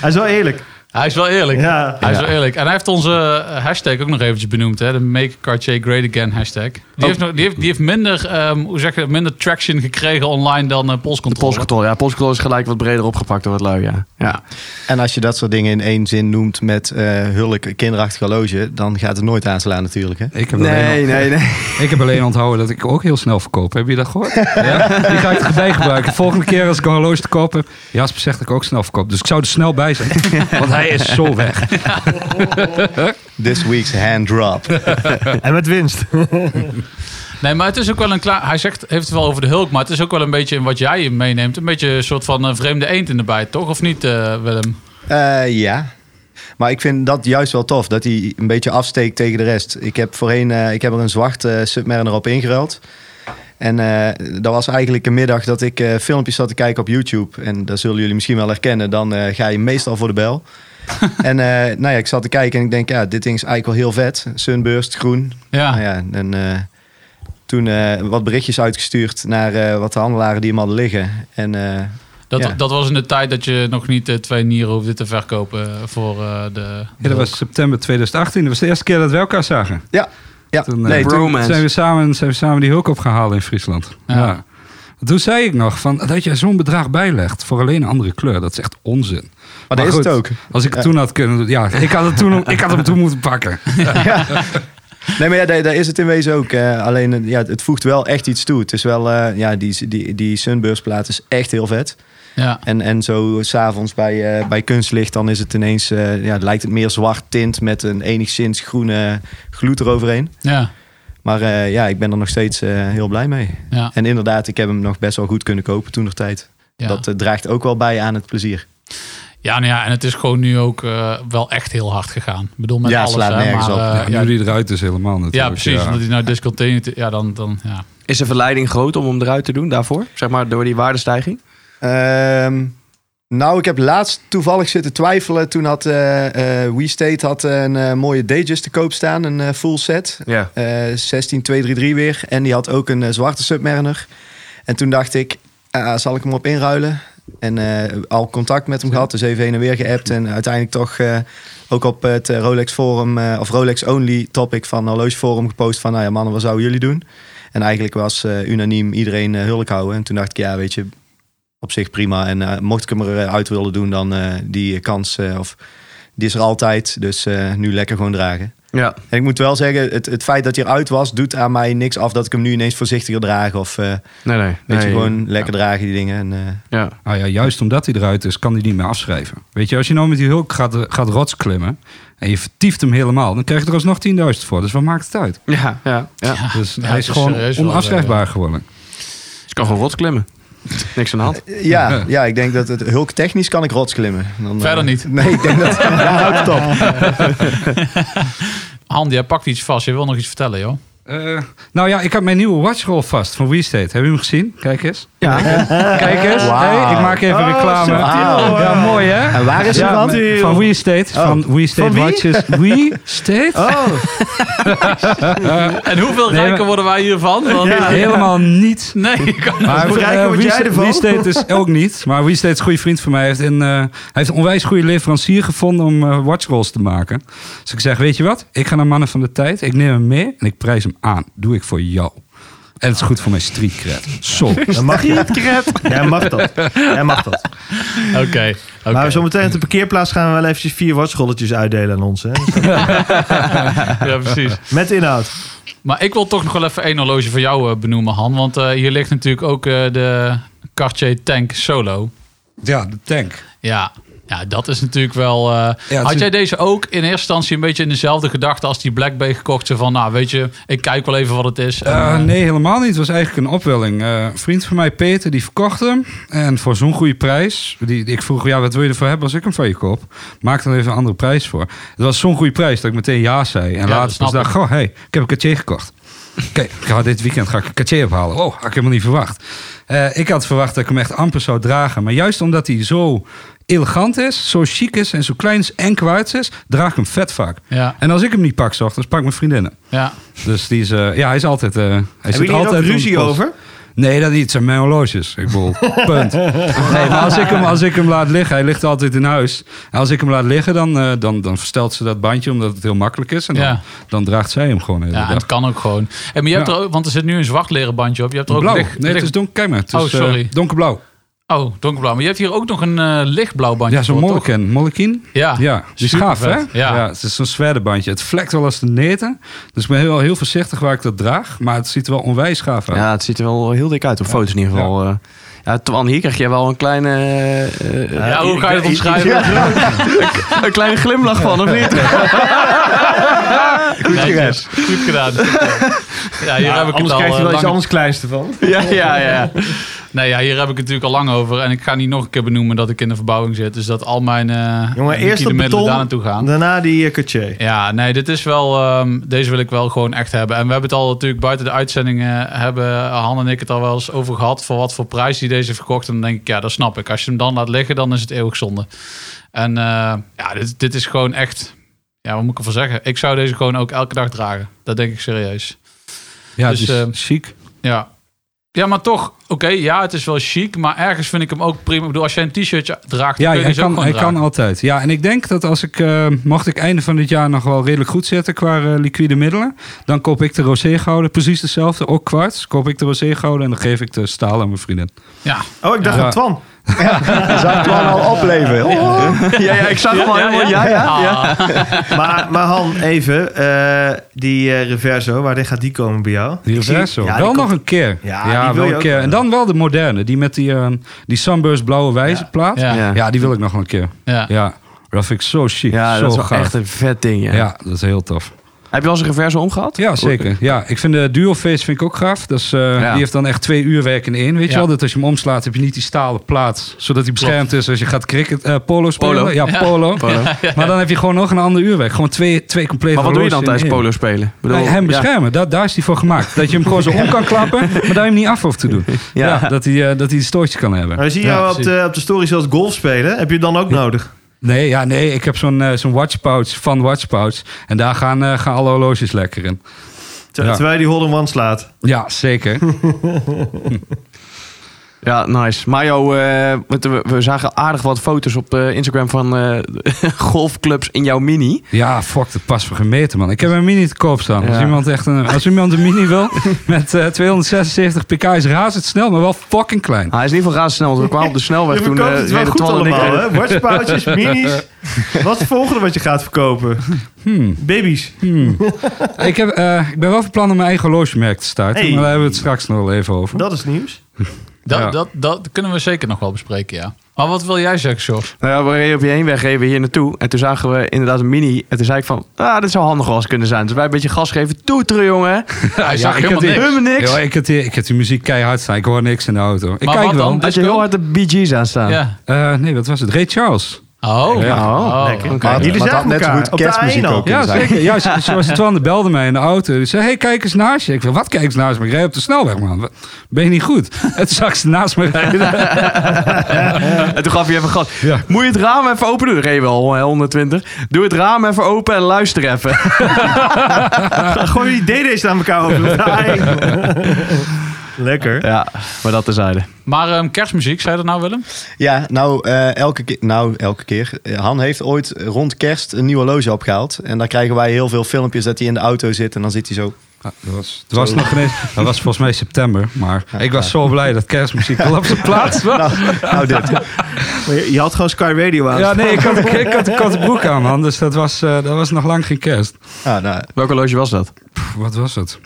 Speaker 6: hij is wel eerlijk.
Speaker 3: Hij is wel eerlijk.
Speaker 6: Ja.
Speaker 3: Hij is wel eerlijk. En hij heeft onze eh, hashtag ook nog eventjes benoemd. Hè? De Make Cartier Great Again hashtag. Die, heeft, nog- die, heeft, die heeft minder, ehm, hoe zeg je, dat, minder traction gekregen online dan eh Polscontrole.
Speaker 4: Polscontrole. Ja, Polscontrole is gelijk wat breder opgepakt door het lui, ja. ja.
Speaker 1: En als je dat soort dingen in één zin noemt met eh hulk, kinderachtig horloge, dan gaat het nooit aanslaan natuurlijk. Hè?
Speaker 5: Ik heb, alleen,
Speaker 4: nee, nee.
Speaker 5: ik heb alleen onthouden dat ik ook heel snel verkoop. Heb je dat gehoord? Ja? Die ga ik erbij gebruiken. Volgende keer als ik een horloge te koop heb. Jasper zegt dat ik ook snel verkoop. Dus ik zou er snel bij zijn. Want hij is zo weg.
Speaker 1: This week's hand drop.
Speaker 6: En met winst.
Speaker 3: Nee, maar het is ook wel een klaar. Hij zegt, heeft het wel over de Hulk, maar het is ook wel een beetje in wat jij meeneemt. Een beetje een soort van eh, vreemde eend in de bijt, toch? Of niet, eh, Willem?
Speaker 1: Eh, ja. Maar ik vind dat juist wel tof, dat hij een beetje afsteekt tegen de rest. Ik heb voorheen, eh, ik heb er een zwart eh, Submariner op ingeruild. En eh, dat was eigenlijk een middag dat ik eh, filmpjes zat te kijken op YouTube. En dat zullen jullie misschien wel herkennen. Dan eh, ga je meestal voor de bel. en eh, nou ja, ik zat te kijken en ik denk, ja, dit ding is eigenlijk wel heel vet. Sunburst, groen,
Speaker 3: Ja.
Speaker 1: Nou ja, en eh, toen eh, wat berichtjes uitgestuurd naar eh, wat de handelaren die hem hadden liggen. En eh,
Speaker 3: Dat,
Speaker 1: Ja.
Speaker 3: dat was in de tijd dat je nog niet eh, twee nieren hoefde te verkopen eh, voor eh, de.
Speaker 5: Ja, dat was september 2018. Dat was de eerste keer dat we elkaar zagen.
Speaker 1: ja, ja.
Speaker 5: Toen, eh,
Speaker 1: nee,
Speaker 4: bro-
Speaker 1: toen-
Speaker 4: Bromance.
Speaker 5: Zijn we samen, zijn we samen die hulk op gaan halen in Friesland.
Speaker 3: Ja.
Speaker 5: Ja. Toen zei ik nog van, dat jij zo'n bedrag bijlegt voor alleen een andere kleur. Dat is echt onzin.
Speaker 1: maar dat is
Speaker 5: goed,
Speaker 1: het ook.
Speaker 5: Als ik het
Speaker 1: Ja.
Speaker 5: toen had kunnen doen. Ja, ik had, het toen, ik had hem toen moeten pakken.
Speaker 1: Nee, maar ja, daar, daar is het in wezen ook. eh, alleen, eh, ja, het voegt wel echt iets toe. Het is wel, eh, ja, die, die, die sunburstplaat is echt heel vet.
Speaker 3: Ja.
Speaker 1: En, en zo s'avonds bij, eh, bij kunstlicht, dan is het ineens, eh, ja, lijkt het meer zwart tint met een enigszins groene gloed eroverheen.
Speaker 3: Ja.
Speaker 1: Maar eh, ja, ik ben er nog steeds eh, heel blij mee.
Speaker 3: Ja.
Speaker 1: En inderdaad, ik heb hem nog best wel goed kunnen kopen toen nog tijd.
Speaker 3: Ja.
Speaker 1: Dat eh, draagt ook wel bij aan het plezier.
Speaker 3: Ja, nou ja, en het is gewoon nu ook eh, wel echt heel hard gegaan. Ik bedoel, met
Speaker 1: Ja,
Speaker 3: alles.
Speaker 1: slaat
Speaker 3: hè,
Speaker 1: nergens
Speaker 3: maar,
Speaker 1: op.
Speaker 3: eh,
Speaker 5: Ja,
Speaker 3: ja,
Speaker 5: nu die eruit is helemaal natuurlijk.
Speaker 3: ja, precies. Omdat hij nou discontinued... Ja, dan... dan ja.
Speaker 4: Is de verleiding groot om hem eruit te doen daarvoor? Zeg maar door die waardestijging?
Speaker 1: Ehm, nou, ik heb laatst toevallig zitten twijfelen. Toen had eh eh, We State had een eh, mooie Dayjust te koop staan, een eh, full set.
Speaker 4: Ja.
Speaker 1: Eh 16233 weer. En die had ook een eh, zwarte Submariner. En toen dacht ik, ah, zal ik hem op inruilen? En eh, al contact met hem gehad, dus even heen en weer geappt. En uiteindelijk toch eh, ook op het eh, Rolex Forum, eh, of Rolex Only topic van Horloge Forum gepost van, nou ja mannen, wat zouden jullie doen? En eigenlijk was eh, unaniem iedereen eh, hulk houden. En toen dacht ik, ja weet je, op zich prima. En eh, mocht ik hem eruit willen doen, dan eh, die kans, eh, of die is er altijd. Dus eh, nu lekker gewoon dragen.
Speaker 4: Ja.
Speaker 1: En ik moet wel zeggen, het, het feit dat hij eruit was, doet aan mij niks af dat ik hem nu ineens voorzichtiger draag. Of eh,
Speaker 4: Nee, nee.
Speaker 1: weet je,
Speaker 4: nee.
Speaker 1: gewoon lekker dragen die dingen. En, eh,
Speaker 4: Ja.
Speaker 5: Nou ja, juist omdat hij eruit is, kan hij niet meer afschrijven. Weet je, als je nou met die hulk gaat, gaat rots klimmen en je vertieft hem helemaal, dan krijg je er alsnog 10.000 voor. Dus wat maakt het uit?
Speaker 4: Ja, ja, ja. Ze
Speaker 5: Dus
Speaker 3: ja,
Speaker 5: hij is
Speaker 3: het is
Speaker 5: gewoon
Speaker 3: serieus wel, eh,
Speaker 5: onafschrijfbaar geworden.
Speaker 4: kan gewoon rots klimmen. Niks aan de hand.
Speaker 1: ja, ja, ik denk dat het hulk technisch kan ik rots klimmen. Dan, eh,
Speaker 3: Verder niet.
Speaker 1: Nee, ik denk dat. Daar houdt het op.
Speaker 3: Handy, jij pakt iets vast. Je wil nog iets vertellen, joh.
Speaker 5: Eh, nou ja, ik heb mijn nieuwe watchroll vast van WeState. Hebben jullie hem gezien? Kijk eens. Kijk eens.
Speaker 1: Wauw.
Speaker 5: Hey, ik maak even reclame.
Speaker 1: Oh, subtiel,
Speaker 5: ja, mooi hè?
Speaker 1: En waar is hij
Speaker 5: Ja,
Speaker 1: van? Oh.
Speaker 5: van WeState. Van WeState
Speaker 1: Van wie?
Speaker 5: Watches. WeState?
Speaker 1: Oh.
Speaker 3: En hoeveel
Speaker 5: Nee,
Speaker 3: rijker
Speaker 5: maar-
Speaker 3: worden wij hiervan? Want-
Speaker 5: Helemaal niets.
Speaker 3: Nee, ik kan
Speaker 5: Maar
Speaker 6: Hoe rijk
Speaker 5: eh,
Speaker 6: word
Speaker 5: Wie-
Speaker 6: jij ervan?
Speaker 5: Wie State dus ook niet. Maar Wie State is een goede vriend van mij. Hij heeft, een, eh, hij heeft een onwijs goede leverancier gevonden om eh, watchrolls te maken. Dus ik zeg, weet je wat? Ik ga naar Mannen van de Tijd. Ik neem hem mee en ik prijs hem aan. Doe ik voor jou. En het is goed voor mijn streetcred. Zo.
Speaker 6: Dan mag je. Jij mag dat. Jij mag dat.
Speaker 3: Oké. oké.
Speaker 6: Maar zometeen op de parkeerplaats gaan we wel eventjes vier watschrolletjes uitdelen aan ons. Hè? Dus
Speaker 3: Ja, precies.
Speaker 6: Met inhoud.
Speaker 3: Maar ik wil toch nog wel even één horloge voor jou eh, benoemen, Han. Want eh, hier ligt natuurlijk ook eh, de Cartier Tank Solo.
Speaker 5: Ja, de tank.
Speaker 3: Ja, ja dat is natuurlijk wel... eh,
Speaker 5: Ja, het
Speaker 3: had
Speaker 5: is-
Speaker 3: jij deze ook in eerste instantie een beetje in dezelfde gedachte als die Black Bay gekocht? Zo van, nou weet je, ik kijk wel even wat het is. En,
Speaker 5: Eh,
Speaker 3: eh,
Speaker 5: nee, helemaal niet. Het was eigenlijk een opwelling. Eh, een vriend van mij, Peter, die verkocht hem. En voor zo'n goede prijs. Die, ik vroeg, ja, wat wil je ervoor hebben als ik hem van je koop? Maak dan even een andere prijs voor. Het was zo'n goede prijs dat ik meteen ja zei. En
Speaker 3: dat
Speaker 5: later
Speaker 3: snap
Speaker 5: pas dacht,
Speaker 3: ik.
Speaker 5: goh, hey, ik heb een Cartier gekocht. Kijk, ik ga dit weekend ga ik een Cartier ophalen. Oh, had ik helemaal niet verwacht. Eh, ik had verwacht dat ik hem echt amper zou dragen. Maar juist omdat hij zo elegant is, zo chic is en zo klein is en kwijt is, draag ik hem vet vaak.
Speaker 3: ja,
Speaker 5: En als ik hem niet pak, 's ochtends, pak ik mijn vriendinnen.
Speaker 3: ja.
Speaker 5: Dus die is, eh, ja, hij is altijd. eh hij zit
Speaker 6: Hebben jullie
Speaker 5: altijd
Speaker 6: er ook
Speaker 5: op de
Speaker 6: ruzie
Speaker 5: post.
Speaker 6: over?
Speaker 5: Nee, dat niet. Het zijn mijn horloges. Ik bedoel, punt. Nee, maar als ik, hem, als ik hem laat liggen, hij ligt altijd in huis. En als ik hem laat liggen, dan, eh, dan, dan verstelt ze dat bandje omdat het heel makkelijk is. En dan,
Speaker 3: Ja.
Speaker 5: dan draagt zij hem gewoon de hele
Speaker 3: ja en
Speaker 5: dag.
Speaker 3: het kan ook gewoon. En, maar je hebt
Speaker 5: Ja.
Speaker 3: er ook, want er zit nu een zwart leren bandje op. Je hebt er ook
Speaker 5: Blauw.
Speaker 3: licht-
Speaker 5: nee, het
Speaker 3: licht-
Speaker 5: is donker. Kijk maar. Het is,
Speaker 3: Oh, sorry.
Speaker 5: eh, donkerblauw.
Speaker 3: Oh, donkerblauw. Maar je hebt hier ook nog een eh, lichtblauw bandje
Speaker 5: Ja, zo'n
Speaker 3: voor, toch?
Speaker 5: mollekin. Mollekin?
Speaker 3: Ja,
Speaker 5: Ja, die is
Speaker 3: super
Speaker 5: gaaf, hè?
Speaker 3: vet. Ja.
Speaker 5: het is zo'n zwerdenbandje. Het vlekt wel als de neten. Dus ik ben heel, heel voorzichtig waar ik dat draag. Maar het ziet er wel onwijs gaaf uit.
Speaker 4: Ja, het ziet er wel heel dik uit op foto's in ieder geval. eh. Ja, Twan, hier krijg je wel een kleine... eh, eh,
Speaker 3: Ja, hoe ga je dat omschrijven?
Speaker 4: een kleine glimlach van, of niet?
Speaker 3: Goed gedaan. Goed gedaan. Ja, hier heb ik het
Speaker 6: Ah, anders
Speaker 3: al
Speaker 6: krijg je wel
Speaker 3: eh,
Speaker 6: iets
Speaker 3: lang-
Speaker 6: anders kleins ervan.
Speaker 4: Ja, ja, ja.
Speaker 3: Nee, ja, hier heb ik het natuurlijk al lang over. En ik ga niet nog een keer benoemen dat ik in de verbouwing zit. Dus dat al mijn eh
Speaker 6: Jongen, eerst dat
Speaker 3: liquide middelen
Speaker 6: beton.
Speaker 3: daar naartoe gaan.
Speaker 6: Daarna die eh, Cartier.
Speaker 3: Ja, nee, dit is wel. ehm, deze wil ik wel gewoon echt hebben. En we hebben het al natuurlijk buiten de uitzendingen hebben Han en ik het al wel eens over gehad. Voor wat voor prijs die deze verkocht. En dan denk ik, ja, dat snap ik. Als je hem dan laat liggen, dan is het eeuwig zonde. En eh, ja, dit, dit is gewoon echt. Ja, wat moet ik ervan zeggen? Ik zou deze gewoon ook elke dag dragen. Dat denk ik serieus.
Speaker 5: Ja,
Speaker 3: Dus,
Speaker 5: het is
Speaker 3: eh,
Speaker 5: chic.
Speaker 3: Ja. Ja, maar toch, oké, ja, het is wel chic, maar ergens vind ik hem ook prima. Ik bedoel, als jij een t-shirtje draagt, dan
Speaker 5: Ja,
Speaker 3: kun je
Speaker 5: hij
Speaker 3: ze ook
Speaker 5: kan,
Speaker 3: gewoon
Speaker 5: hij
Speaker 3: dragen.
Speaker 5: kan altijd. Ja, en ik denk dat als ik, eh, mocht ik einde van dit jaar nog wel redelijk goed zitten qua eh, liquide middelen, dan koop ik de rosé gouden, precies dezelfde, ook kwarts. Koop ik de rosé gouden en dan geef ik de staal aan mijn vriendin.
Speaker 3: Ja,
Speaker 6: Oh, ik dacht
Speaker 5: Ja.
Speaker 6: aan Twan.
Speaker 1: Zou het wel al opleven? Oh.
Speaker 4: Ja, ja, ik zag hem al helemaal. Ja, ja.
Speaker 3: Ah,
Speaker 6: Maar, maar Han, even. eh, die eh, Reverso, waar gaat die komen bij jou?
Speaker 5: Die
Speaker 6: Ik zie-
Speaker 5: reverso.
Speaker 6: Ja, die
Speaker 5: wel nog
Speaker 6: komt-
Speaker 5: een keer.
Speaker 6: Ja, die wil
Speaker 5: wel
Speaker 6: je
Speaker 5: een
Speaker 6: ook
Speaker 5: keer.
Speaker 6: wel.
Speaker 5: En dan wel de moderne, die met die, eh, die Sunburst blauwe wijzerplaat.
Speaker 3: Ja.
Speaker 5: Ja.
Speaker 4: Ja,
Speaker 5: die wil ik nog wel een keer.
Speaker 3: ja.
Speaker 5: Ja, dat vind ik zo chic.
Speaker 4: Ja,
Speaker 5: zo
Speaker 4: dat is wel
Speaker 5: gaaf.
Speaker 4: echt een vet ding, ja.
Speaker 5: ja. dat is heel tof.
Speaker 4: Heb je wel eens een reverse omgehad?
Speaker 5: Ja, zeker. Ja, ik vind de duoface vind ik ook gaaf. Dat is, eh,
Speaker 4: Ja.
Speaker 5: Die heeft dan echt twee uur werk in één. Weet
Speaker 3: Ja.
Speaker 5: je wel? Dat als je hem omslaat, heb je niet die stalen plaat. Zodat hij beschermd is als je gaat cricket, eh, polo spelen.
Speaker 4: Polo.
Speaker 5: Ja, polo.
Speaker 4: Polo.
Speaker 5: Maar dan heb je gewoon nog een ander uurwerk. Gewoon twee, twee complete
Speaker 4: Maar wat doe je dan
Speaker 5: horloges
Speaker 4: tijdens
Speaker 5: in één.
Speaker 4: polo spelen? Ik bedoel,
Speaker 5: Nee, hem
Speaker 4: ja.
Speaker 5: beschermen, dat, daar is hij voor gemaakt. Dat je hem gewoon zo om kan klappen, maar dat je hem niet af hoeft te doen.
Speaker 4: Ja.
Speaker 5: Ja. dat, hij, eh, dat hij een stootje kan hebben.
Speaker 6: Maar we zien
Speaker 5: Ja,
Speaker 6: jou op
Speaker 5: precies.
Speaker 6: de, op de story zoals golf spelen. Heb je dan ook nodig?
Speaker 5: Nee, ja, nee, ik heb zo'n eh, zo'n watchpouch van watchpouch. En daar gaan, eh, gaan alle horloges lekker in.
Speaker 6: Ter-
Speaker 5: Ja.
Speaker 6: Terwijl je die hole in one slaat.
Speaker 5: Ja, zeker.
Speaker 4: Ja, nice. Mario, eh, want we, we zagen aardig wat foto's op eh, Instagram van eh, golfclubs in jouw mini.
Speaker 5: Ja, fuck, dat past voor gemeten, man. Ik heb een mini te koop staan. Als,
Speaker 4: Ja.
Speaker 5: iemand echt een, als iemand een mini wil met eh, 276 pk is razend snel, maar wel fucking klein.
Speaker 4: Hij is in ieder geval razendsnel, want we kwamen op de snelweg
Speaker 6: Je
Speaker 4: toen.
Speaker 6: verkoopt
Speaker 4: eh,
Speaker 6: het wel
Speaker 4: reden
Speaker 6: goed
Speaker 4: Twan en ik-
Speaker 6: allemaal, hè? Watchpoutjes, minis. Wat is het volgende wat je gaat verkopen? Baby's.
Speaker 5: Ik, heb, eh, ik ben wel van plan om mijn eigen horlogemerk te starten,
Speaker 6: Hey.
Speaker 5: maar daar hebben we het straks nog wel even over.
Speaker 6: Dat is nieuws.
Speaker 3: Dat,
Speaker 5: Ja.
Speaker 3: dat, dat kunnen we zeker nog wel bespreken, ja. Maar wat wil jij zeggen, Sjors?
Speaker 4: Nou ja, we reden op je heenweg reden we hier naartoe. En toen zagen we inderdaad een mini. En toen zei ik van, ah, dit zou handig wel eens kunnen zijn. Dus wij een beetje gas geven. Toeteren, jongen.
Speaker 3: Hij zag
Speaker 5: ik
Speaker 3: helemaal
Speaker 5: heb die-
Speaker 3: niks.
Speaker 4: Helemaal niks.
Speaker 5: Yo, ik, heb die, ik heb die muziek keihard staan, ik hoor niks in de auto. Ik
Speaker 3: Maar
Speaker 5: kijk
Speaker 3: wat
Speaker 5: wel.
Speaker 3: dan?
Speaker 4: Had je heel hard de Bee Gees aan staan.
Speaker 3: Ja.
Speaker 5: Eh, nee, wat was het? Ray Charles.
Speaker 3: Oh.
Speaker 5: Ja.
Speaker 3: Oh.
Speaker 6: Lekker.
Speaker 4: oké.
Speaker 1: Maar,
Speaker 6: Jullie
Speaker 1: maar het had
Speaker 6: zagen
Speaker 1: net zo
Speaker 6: elkaar
Speaker 1: goed
Speaker 6: op de
Speaker 1: kerstmuziek
Speaker 6: Eino.
Speaker 1: ook kunnen
Speaker 5: Ja,
Speaker 1: zijn.
Speaker 5: zeker. Ja, zo- zoals Twan belde mij in de auto. Die zei, hey, kijk eens naast je. Ik zei, wat kijk eens naast me? Ik rij op de snelweg, man. Wat- Ben je niet goed? Het zag ze naast me rijden.
Speaker 4: En toen gaf hij even gas. Moet je het raam even open doen? Dan reed je wel hè, 120. Doe het raam even open en luister even.
Speaker 6: Gooi die DD's aan elkaar over. op de Eino. Lekker.
Speaker 4: ja, maar dat tezijde.
Speaker 3: Maar ehm, kerstmuziek, zei je dat nou, Willem?
Speaker 1: Ja, nou, eh, elke, keer- nou elke keer. Eh, Han heeft ooit rond kerst een nieuw horloge opgehaald. En dan krijgen wij heel veel filmpjes dat hij in de auto zit. En dan zit hij zo...
Speaker 5: Ja, dat was, het was nog geen eens- Dat was volgens mij september. Maar ik was zo blij dat kerstmuziek al op zijn plaats was.
Speaker 1: Nou, nou dit.
Speaker 6: Maar je, je had gewoon Sky Radio aan.
Speaker 5: Ja, nee, ik had, ik had een korte broek aan, man. Dus dat was, eh, dat was nog lang geen kerst.
Speaker 1: Ah, nou,
Speaker 4: Welk horloge was dat?
Speaker 5: Pff, wat was het?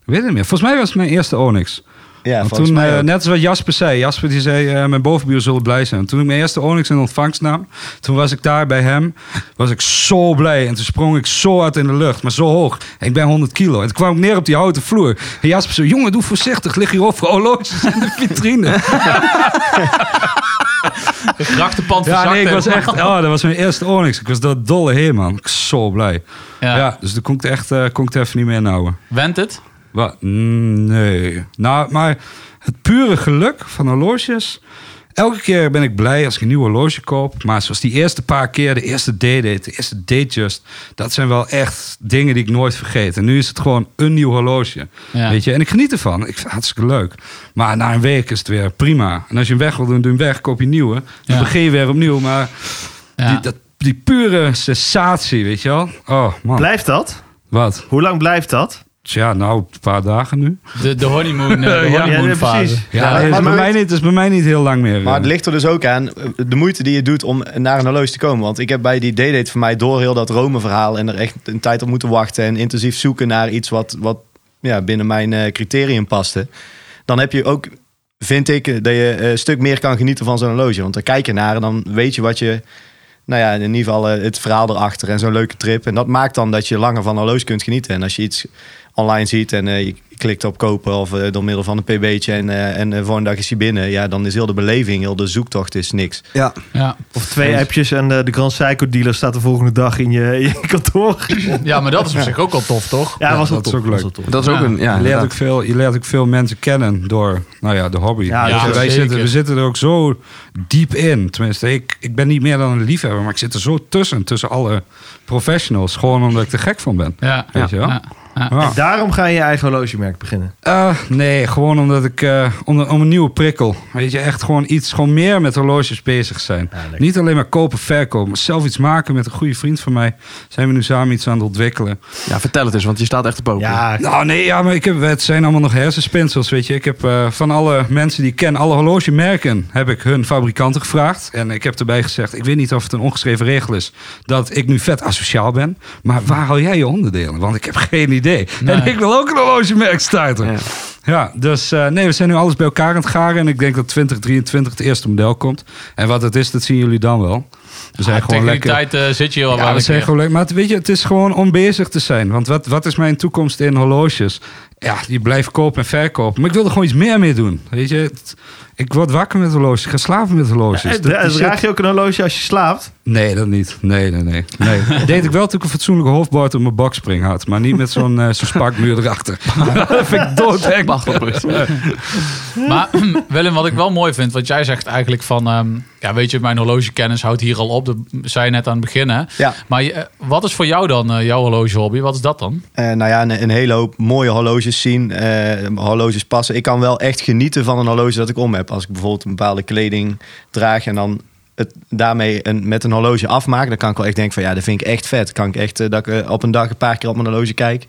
Speaker 5: Ik weet het niet meer. Volgens mij was het mijn eerste Onyx.
Speaker 1: ja,
Speaker 5: Want
Speaker 1: volgens
Speaker 5: toen,
Speaker 1: mij
Speaker 5: eh,
Speaker 1: ook.
Speaker 5: net als wat Jasper zei. Jasper die zei, eh, mijn bovenbuur zullen blij zijn. Toen ik mijn eerste Onyx in ontvangst nam, toen was ik daar bij hem. Was ik zo blij. En toen sprong ik zo uit in de lucht, maar zo hoog. En ik ben 100 kilo. En toen kwam ik neer op die houten vloer. En Jasper zo, jongen, doe voorzichtig. Lig hier over horloges in de vitrine.
Speaker 3: De grachtenpand
Speaker 5: ja,
Speaker 3: verzakt
Speaker 5: nee, ik was echt...
Speaker 3: helemaal.
Speaker 5: Oh, dat was mijn eerste Onyx. Ik was dat dolle heen, man. Ik was zo blij. Ja,
Speaker 3: Ja.
Speaker 5: dus daar kon ik het echt eh, kon ik het even niet meer inhouden.
Speaker 3: Went het?
Speaker 5: Wat? Mm, Nee. Nou, maar het pure geluk van horloges. Elke keer ben ik blij als ik een nieuw horloge koop. Maar zoals die eerste paar keer, de eerste day-date, de eerste datejust. Dat zijn wel echt dingen die ik nooit vergeet. En nu is het gewoon een nieuw horloge.
Speaker 3: Ja.
Speaker 5: Weet je? En ik geniet ervan. Ik vind het hartstikke leuk. Maar na een week is het weer prima. En als je hem weg wil doen, doe hem weg. Koop je een nieuwe. Dan
Speaker 3: Ja.
Speaker 5: begin je weer opnieuw. Maar
Speaker 3: Ja.
Speaker 5: die, dat, die pure sensatie, weet je wel. Oh man,
Speaker 6: Blijft dat?
Speaker 5: wat?
Speaker 6: Hoe lang blijft dat?
Speaker 5: Tja, nou, een paar dagen nu.
Speaker 3: De, de honeymoon, eh, de honeymoon fase.
Speaker 5: Ja, dat is,
Speaker 1: maar
Speaker 5: bij
Speaker 1: nooit-
Speaker 5: mij niet, dat is bij mij niet heel lang meer.
Speaker 1: Maar het ligt er dus ook aan eh, de moeite die je doet om naar een horloge te komen. Want ik heb bij die D-date van mij door heel dat Rome-verhaal en er echt een tijd op moeten wachten en intensief zoeken naar iets wat, wat ja, binnen mijn eh, criterium paste. Dan heb je ook, vind ik, eh, dat je eh, een stuk meer kan genieten van zo'n horloge. Want dan kijk je naar en dan weet je wat je, nou ja, in ieder geval eh, het verhaal erachter en zo'n leuke trip. En dat maakt dan dat je langer van een horloge kunt genieten. En als je iets online ziet en eh, je klikt op kopen of eh, door middel van een pb'tje en, eh en de volgende dag is hij binnen. Ja, dan is heel de beleving, heel de zoektocht is niks.
Speaker 4: Ja.
Speaker 3: Ja.
Speaker 6: Of twee appjes en eh, de Grand Psycho dealer staat de volgende dag in je, in je kantoor.
Speaker 3: ja, maar dat is op zich ook al tof, toch?
Speaker 6: Ja, was wel
Speaker 5: dat is
Speaker 6: tof.
Speaker 5: ook leuk.
Speaker 6: Was wel tof.
Speaker 4: Dat is ook
Speaker 3: Ja.
Speaker 4: een... Ja,
Speaker 5: je, leert
Speaker 4: inderdaad.
Speaker 5: ook veel, je leert ook veel mensen kennen door nou ja, de hobby.
Speaker 6: Ja,
Speaker 5: Weet je,
Speaker 3: ja,
Speaker 5: wij
Speaker 3: zeker.
Speaker 5: zitten, we zitten er ook zo diep in. Tenminste, ik, ik ben niet meer dan een liefhebber, maar ik zit er zo tussen, tussen alle professionals. Gewoon omdat ik er gek van ben.
Speaker 3: Ja.
Speaker 5: Weet je wel?
Speaker 3: Ja.
Speaker 5: Ja.
Speaker 6: Daarom ga je je eigen horlogemerk beginnen.
Speaker 5: Eh, nee, gewoon omdat ik eh, om, om een nieuwe prikkel. Weet je, echt gewoon iets, gewoon meer met horloges bezig zijn. Niet alleen maar kopen, verkopen, maar zelf iets maken met een goede vriend van mij. Zijn we nu samen iets aan het ontwikkelen.
Speaker 4: ja, vertel het eens, want je staat echt op open.
Speaker 6: Ja,
Speaker 5: Nou, nee, ja, maar ik heb, het zijn allemaal nog hersenspinsels, weet je. Ik heb eh, van alle mensen die ik ken, alle horlogemerken, heb ik hun fabrikanten gevraagd. En ik heb erbij gezegd, ik weet niet of het een ongeschreven regel is, dat ik nu vet asociaal ben. Maar waar haal jij je onderdelen? Want ik heb geen idee. En ik wil ook een horlogemerk starten.
Speaker 4: Ja.
Speaker 5: Ja, dus eh, nee, we zijn nu alles bij elkaar aan het garen. En ik denk dat 2023 het eerste model komt. En wat het is, dat zien jullie dan wel. We zijn
Speaker 3: Ja,
Speaker 5: gewoon
Speaker 3: Tegen die
Speaker 5: lekker...
Speaker 3: tijd eh, zit je hier al
Speaker 5: Ja,
Speaker 3: wel
Speaker 5: we
Speaker 3: een
Speaker 5: zijn
Speaker 3: keer.
Speaker 5: gewoon leuk. Maar het, weet je, het is gewoon om bezig te zijn. Want wat, wat is mijn toekomst in horloges? Ja, je blijft kopen en verkopen. Maar ik wil er gewoon iets meer mee doen. Weet je, het- ik word wakker met horloges. Ik ga slapen met horloges.
Speaker 6: Eh,
Speaker 5: Dat-
Speaker 6: dra-
Speaker 5: die
Speaker 6: Draag
Speaker 5: shit-
Speaker 6: je ook een horloge als je slaapt?
Speaker 5: Nee, dat niet. Nee, nee, nee. nee. Dat deed ik wel toen ik een fatsoenlijke hoofdbord op mijn bakspring had. Maar niet met zo'n eh, zo'n spakmuur erachter. dat vind ik doodeng.
Speaker 4: Wacht op rust.
Speaker 3: Maar Willem, wat ik wel mooi vind, wat jij zegt eigenlijk van... ehm, Ja, weet je, mijn horlogekennis houdt hier al op. Dat zei je net aan het begin, hè?
Speaker 1: Ja.
Speaker 3: Maar je- eh, wat is voor jou dan eh, jouw horlogehobby? Wat is dat dan?
Speaker 1: Eh, nou ja, een, een hele hoop mooie horloges zien, eh, horloges passen. Ik kan wel echt genieten van een horloge dat ik om heb. Als ik bijvoorbeeld een bepaalde kleding draag en dan het daarmee een, met een horloge afmaak, dan kan ik wel echt denken van ja, dat vind ik echt vet. Kan ik echt eh, dat ik eh, op een dag een paar keer op mijn horloge kijk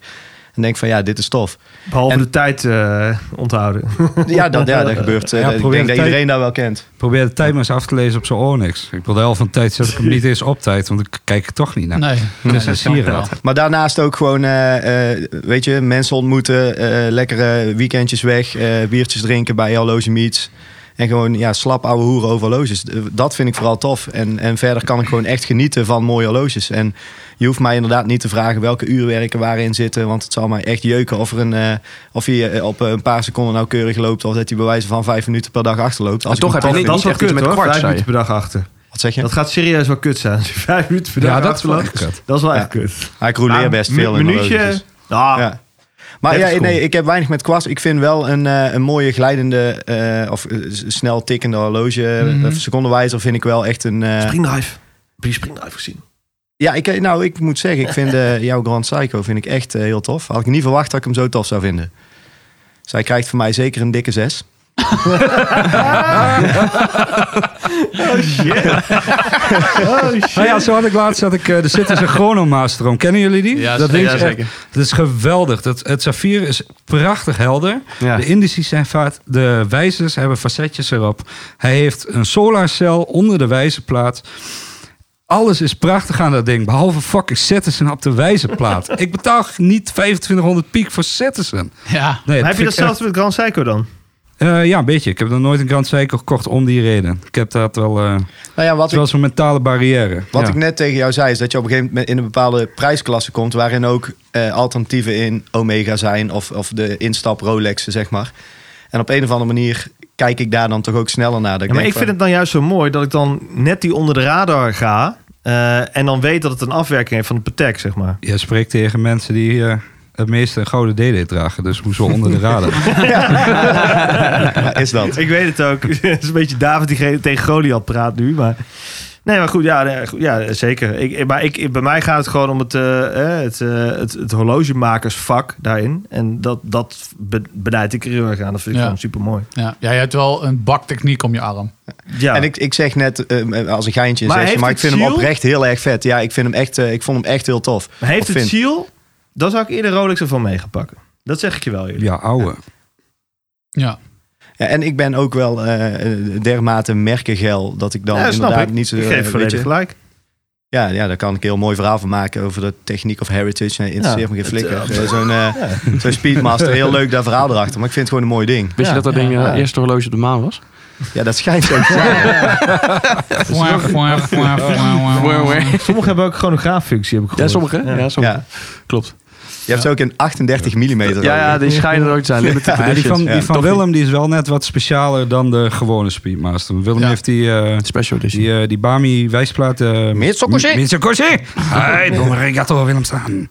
Speaker 1: en denk van ja, dit is tof.
Speaker 6: Behalve
Speaker 1: En-
Speaker 6: de tijd eh, onthouden.
Speaker 1: Ja, dat, ja, dat gebeurt. eh,
Speaker 5: Ja,
Speaker 1: dat- ik
Speaker 5: probeer
Speaker 1: denk dat
Speaker 5: tijd-
Speaker 1: iedereen dat wel kent.
Speaker 5: Probeer de tijd maar eens af te lezen op zo'n Onyx. Ik wil de helft van de tijd zet ik hem niet eens op tijd, want ik kijk er toch niet naar.
Speaker 3: Nee,
Speaker 5: Dus dat zie je
Speaker 3: snap ik
Speaker 5: wel.
Speaker 1: Maar daarnaast ook gewoon, eh, eh, weet je, mensen ontmoeten, eh, lekkere weekendjes weg, eh, biertjes drinken bij horloge meets. En gewoon ja, slap ouwe hoeren over horloges. Eh, Dat vind ik vooral tof. En, en verder kan ik gewoon echt genieten van mooie horloges. En je hoeft mij inderdaad niet te vragen welke uurwerken waarin zitten. Want het zal mij echt jeuken of, er een, eh, of je eh, op een paar seconden nauwkeurig loopt. Of dat je bij wijze van vijf minuten per dag achterloopt. Als
Speaker 4: En toch
Speaker 1: ik hem
Speaker 4: heb je
Speaker 1: tof vind.
Speaker 4: niet-
Speaker 6: Dat is wel
Speaker 4: echt iets
Speaker 6: kut
Speaker 4: met
Speaker 6: hoor,
Speaker 4: kwart,
Speaker 6: vijf
Speaker 4: zei je.
Speaker 6: minuten per dag achter.
Speaker 1: Wat zeg je?
Speaker 6: Dat gaat serieus wel kut zijn. Als je vijf minuten per dag
Speaker 5: Ja, dat is wel
Speaker 6: achterloopt,
Speaker 5: echt kut.
Speaker 6: dat is wel
Speaker 1: Ja.
Speaker 6: echt kut.
Speaker 1: Maar Ah, ik rouleer
Speaker 6: Maar
Speaker 1: best
Speaker 6: een
Speaker 1: veel in
Speaker 6: minuutje-
Speaker 1: horloges. dus-
Speaker 6: Ah,
Speaker 1: Ja. Maar
Speaker 6: Dat is
Speaker 1: ja,
Speaker 6: cool.
Speaker 1: nee, ik heb weinig met kwast. Ik vind wel een, eh, een mooie glijdende eh, of eh, s- snel tikkende horloge,
Speaker 3: Mhm.
Speaker 1: of secondenwijzer, vind ik wel echt een. eh,
Speaker 6: Springdrive. Heb je Springdrive gezien?
Speaker 1: ja, ik, eh, nou, ik moet zeggen, ik vind eh, jouw Grand Psycho vind ik echt eh, heel tof. Had ik niet verwacht dat ik hem zo tof zou vinden. Dus hij krijgt van mij zeker een dikke zes.
Speaker 5: Nou ja, zo had ik laatst dat ik eh, er zit dus een chronomaster om. Kennen jullie die?
Speaker 3: Ja,
Speaker 5: dat
Speaker 3: zeker.
Speaker 5: ding is
Speaker 4: Ja,
Speaker 5: echt- Dat is geweldig. Dat, het saffier is prachtig helder.
Speaker 4: Ja.
Speaker 5: De indices zijn vaak, de wijzers hebben facetjes erop. Hij heeft een solarcel onder de wijzerplaat. Alles is prachtig aan dat ding, behalve fucking Cetizen op de wijzerplaat. ik betaal niet 2500 piek voor Cetizen.
Speaker 3: Ja.
Speaker 5: Nee,
Speaker 6: heb je
Speaker 5: vind ik
Speaker 6: datzelfde met Grand Psycho dan?
Speaker 5: echt- Eh, ja, een beetje. Ik heb nog nooit een Grand Seiko gekocht om die reden. Ik heb dat wel, eh
Speaker 1: Nou ja, wat
Speaker 5: dat is wel zo'n mentale barrière.
Speaker 1: Wat
Speaker 5: Ja.
Speaker 1: ik net tegen jou zei, is dat je op een gegeven moment in een bepaalde prijsklasse komt. waarin ook eh, alternatieven in Omega zijn. Of, of de instap Rolexen, zeg maar. En op een of andere manier kijk ik daar dan toch ook sneller naar. Dat
Speaker 6: Ja, maar
Speaker 1: denk
Speaker 6: ik
Speaker 1: van-
Speaker 6: vind het dan juist zo mooi dat ik dan net die onder de radar ga. eh, en dan weet dat het een afwerking heeft van de Patek, zeg maar.
Speaker 5: Je spreekt tegen mensen die eh, het meeste een gouden DD dragen. Dus hoezo onder de radar?
Speaker 1: Ja, is dat.
Speaker 6: Ik weet het ook. het is een beetje David die ge- tegen Goliath praat nu, maar... Nee, maar goed, ja, nee, goed, ja zeker. Ik, maar ik, bij mij gaat het gewoon om het, eh, eh, het, eh, het, het horlogemakersvak daarin. En dat, dat be- benijd ik er heel erg aan. Dat vind ik
Speaker 3: Ja.
Speaker 6: gewoon super mooi.
Speaker 3: Ja. ja, je hebt wel een baktechniek om je arm.
Speaker 6: Ja.
Speaker 1: En ik, ik zeg net eh, als een geintje,
Speaker 6: Maar
Speaker 1: maar,
Speaker 6: heeft
Speaker 1: maar ik
Speaker 6: het
Speaker 1: vind hem
Speaker 6: ziel?
Speaker 1: oprecht heel erg vet. Ja, ik, vind hem echt, eh, ik vond hem echt heel tof.
Speaker 6: Heeft
Speaker 1: Of
Speaker 6: het
Speaker 1: vind.
Speaker 6: ziel? Dan zou ik eerder Rolex ervan mee gaan pakken. Dat zeg ik je wel. Jullie.
Speaker 5: ja, ouwe.
Speaker 3: Ja.
Speaker 1: Ja, en ik ben ook wel eh, dermate merkengel dat ik dan
Speaker 6: Ja, snap
Speaker 1: inderdaad
Speaker 6: ik.
Speaker 1: niet zo...
Speaker 6: ik
Speaker 1: eh,
Speaker 6: geef
Speaker 1: weet
Speaker 6: volledig
Speaker 1: je.
Speaker 6: gelijk.
Speaker 1: ja, ja, daar kan ik een heel mooi verhaal van maken over de techniek of heritage. Nee, interesseert
Speaker 6: Ja,
Speaker 1: me geen
Speaker 6: het,
Speaker 1: flikker.
Speaker 6: eh,
Speaker 1: Eh, Zo'n eh, zo'n Speedmaster, heel leuk daar verhaal erachter. Maar ik vind het gewoon een mooi ding.
Speaker 4: Wist
Speaker 6: Ja.
Speaker 4: je dat dat ding eh,
Speaker 1: Ja.
Speaker 4: eerste horloge op de maan was?
Speaker 1: Ja, dat schijnt ook te zijn.
Speaker 3: Fwa, fwa, fwa, fwa, fwa.
Speaker 6: Sommigen hebben ook gewoon een graaffunctie, heb ik
Speaker 4: Ja,
Speaker 6: gehoord.
Speaker 4: sommige. hè? Ja, sommige.
Speaker 1: Ja.
Speaker 4: Klopt.
Speaker 1: Je hebt ze ook in 38 mm.
Speaker 4: Ja, ja, die schijnen er ook te zijn. Limited
Speaker 5: Ja, die
Speaker 4: edition.
Speaker 5: van, die
Speaker 1: Ja,
Speaker 5: van
Speaker 4: toch
Speaker 5: Willem die is wel net wat specialer dan de gewone Speedmaster. Willem
Speaker 3: Ja.
Speaker 5: heeft die, eh,
Speaker 4: Special edition.
Speaker 5: die, eh, die Bami wijsplaat. Uh, Mitsukoshi! Mitsukoshi! Hey, Bomerigato Willem staan.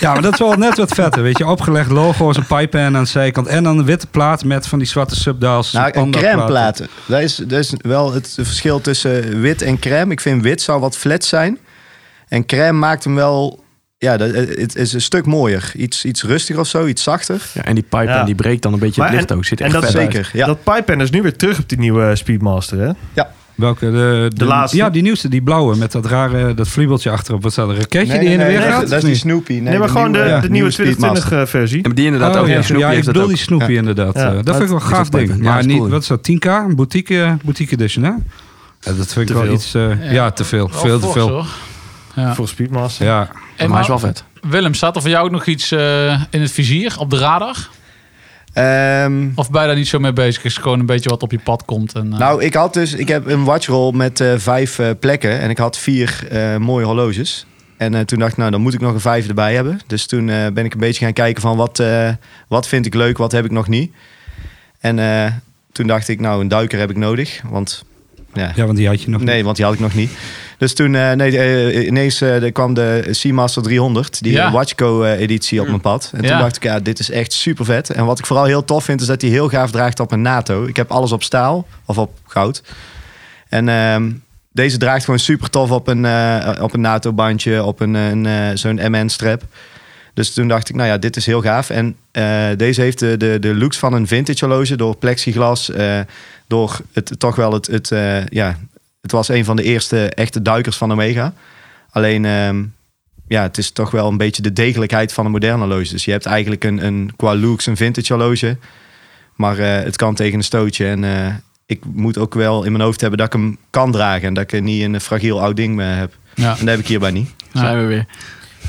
Speaker 5: Ja, maar dat is wel net wat vetter. Weet je, opgelegd logo's, een pipepan aan de zijkant. En dan een witte plaat met van die zwarte subdials.
Speaker 1: Nou, een
Speaker 5: pandaplaten.
Speaker 1: crème platen. Dat is, dat is wel het verschil tussen wit en crème. Ik vind wit zou wat flat zijn. En crème maakt hem wel... Ja, dat, het is een stuk mooier. Iets, iets rustiger of zo, iets zachter.
Speaker 4: Ja, en die pipe
Speaker 6: Ja.
Speaker 4: en die breekt dan een beetje
Speaker 6: Maar
Speaker 4: het licht
Speaker 6: en-
Speaker 4: ook. Zit
Speaker 6: en
Speaker 4: echt
Speaker 6: dat
Speaker 4: vet
Speaker 6: is-
Speaker 4: uit.
Speaker 1: Zeker, ja.
Speaker 6: Dat pipepen is nu weer terug op die nieuwe Speedmaster, hè?
Speaker 5: Welke? De, de,
Speaker 6: laatste.
Speaker 5: Ja, die nieuwste, die blauwe. Met dat rare, dat vliebeltje achterop. Wat staat er? Een raketje die in de weer gaat?
Speaker 1: dat is die Snoopy. Nee,
Speaker 6: Nee, maar
Speaker 1: de
Speaker 6: gewoon
Speaker 1: nieuwe-
Speaker 6: de, de nieuwe
Speaker 1: Speedmaster.
Speaker 6: 2020 versie.
Speaker 4: Ja, maar die inderdaad
Speaker 5: Oh,
Speaker 4: ook.
Speaker 5: ja,
Speaker 4: Ja, Snoopy
Speaker 5: ja, ik
Speaker 4: heeft dat
Speaker 5: bedoel
Speaker 4: ook.
Speaker 5: die Snoopy inderdaad.
Speaker 6: Ja,
Speaker 5: Eh, dat
Speaker 6: dat
Speaker 5: vind ik wel
Speaker 4: is
Speaker 5: een gaaf
Speaker 4: ook leuk.
Speaker 5: ding.
Speaker 4: Ja,
Speaker 5: maar
Speaker 4: dat is
Speaker 5: niet,
Speaker 4: cool.
Speaker 5: wat is dat, 10k? Een Boutique, eh, boutique edition, hè? Ja, dat vind ik wel
Speaker 4: veel.
Speaker 5: iets... eh, ja. te veel.
Speaker 3: Wel
Speaker 5: veel te
Speaker 3: fors,
Speaker 5: veel.
Speaker 3: hoor.
Speaker 6: Voor Speedmaster.
Speaker 5: Ja.
Speaker 3: Hey,
Speaker 4: maar hij
Speaker 3: maar
Speaker 4: is wel vet.
Speaker 3: Willem, staat er voor jou ook nog iets eh, in het vizier, op de radar?
Speaker 1: Ehm,
Speaker 3: Of ben je daar niet zo mee bezig? Is gewoon een beetje wat op je pad komt. En, eh,
Speaker 1: Nou, ik had dus, ik heb een watchroll met eh, vijf eh, plekken en ik had vier eh, mooie horloges. En eh, toen dacht ik, nou, dan moet ik nog een vijf erbij hebben. Dus toen eh, ben ik een beetje gaan kijken van wat, eh, wat vind ik leuk, wat heb ik nog niet. En eh, toen dacht ik, nou, een duiker heb ik nodig, want ja,
Speaker 5: ja, want die had je nog
Speaker 1: nee, want die had ik nog niet. Dus toen, eh, nee, eh, ineens eh, er kwam de Seamaster 300, die
Speaker 3: Ja. Mm.
Speaker 1: Watchco-editie eh, op mijn pad. En toen
Speaker 3: Ja.
Speaker 1: dacht ik, ja, dit is echt super vet. En wat ik vooral heel tof vind, is dat hij heel gaaf draagt op een NATO. Ik heb alles op staal, of op goud. En ehm, deze draagt gewoon super tof op een, eh, op een NATO-bandje, op een, een, eh, zo'n MN-strap. Dus toen dacht ik, nou ja, dit is heel gaaf. En eh, deze heeft de, de, de looks van een vintage horloge door plexiglas, eh, door het, toch wel het, het eh, ja, het was een van de eerste echte duikers van Omega. Alleen, ehm, ja, het is toch wel een beetje de degelijkheid van een moderne horloge. Dus je hebt eigenlijk een, een qua looks een vintage horloge. Maar eh, het kan tegen een stootje. En eh, ik moet ook wel in mijn hoofd hebben dat ik hem kan dragen. En dat ik er niet een fragiel oud ding mee heb.
Speaker 3: Ja.
Speaker 1: En dat heb ik hierbij niet.
Speaker 4: Zijn we weer.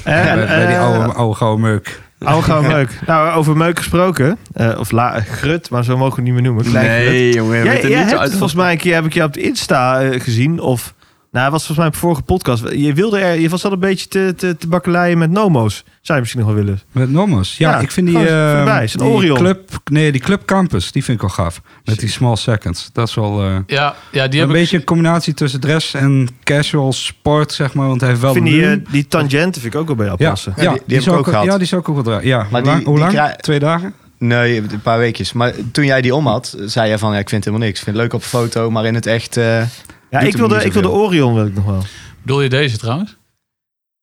Speaker 5: Bij,
Speaker 6: En,
Speaker 5: bij die
Speaker 6: eh,
Speaker 5: oude, oude gouden meuk.
Speaker 6: oude gouden meuk. Nou, over meuk gesproken. eh, of la, grut, maar zo mogen we het niet meer noemen. Klein grut.
Speaker 4: Nee, jongen. we
Speaker 6: Jij,
Speaker 4: weten
Speaker 6: jij
Speaker 4: niet zo
Speaker 6: hebt
Speaker 4: uit.
Speaker 6: volgens mij een keer heb ik je op de Insta eh, gezien. Of, nou, het was volgens mij op de vorige podcast. Je, wilde er, je was al een beetje te, te, te bakkeleien met nomo's. Zou je misschien nog wel willen.
Speaker 5: Met Nomos. Ja,
Speaker 6: Ja,
Speaker 5: ik vind die,
Speaker 6: gewoon
Speaker 5: eh,
Speaker 6: voorbij. Is een
Speaker 5: die
Speaker 6: Orion.
Speaker 5: club, nee, die Club Campus, die vind ik wel gaaf. Met die small seconds. Dat is wel eh,
Speaker 3: Ja, ja die
Speaker 5: een
Speaker 3: heb ik...
Speaker 5: beetje een combinatie tussen dress en casual sport, zeg maar. Want hij heeft wel
Speaker 6: vind
Speaker 5: een
Speaker 6: die,
Speaker 5: lume.
Speaker 6: eh, die tangenten vind ik ook wel bij jou
Speaker 5: ja,
Speaker 6: passen.
Speaker 5: ja,
Speaker 1: Ja, die-
Speaker 5: die,
Speaker 1: die heb
Speaker 5: zou
Speaker 1: ik
Speaker 5: ik
Speaker 1: ook
Speaker 5: ook,
Speaker 1: gehad.
Speaker 5: ja, die zou ik ook wel dragen. Ja, hoe
Speaker 1: die-
Speaker 5: lang? hoe
Speaker 1: die
Speaker 5: lang?
Speaker 1: krijg-
Speaker 5: Twee dagen?
Speaker 1: Nee, een paar weekjes. Maar toen jij die om had, zei jij van... Ja, ik vind het helemaal niks. Ik vind het leuk op foto, maar in het echt... eh,
Speaker 6: Ja,
Speaker 1: Doet
Speaker 6: ik
Speaker 1: hem
Speaker 6: wil, de,
Speaker 1: niet
Speaker 6: ik wil de
Speaker 1: zoveel.
Speaker 6: Orion wil ik nog wel.
Speaker 3: Bedoel je deze trouwens?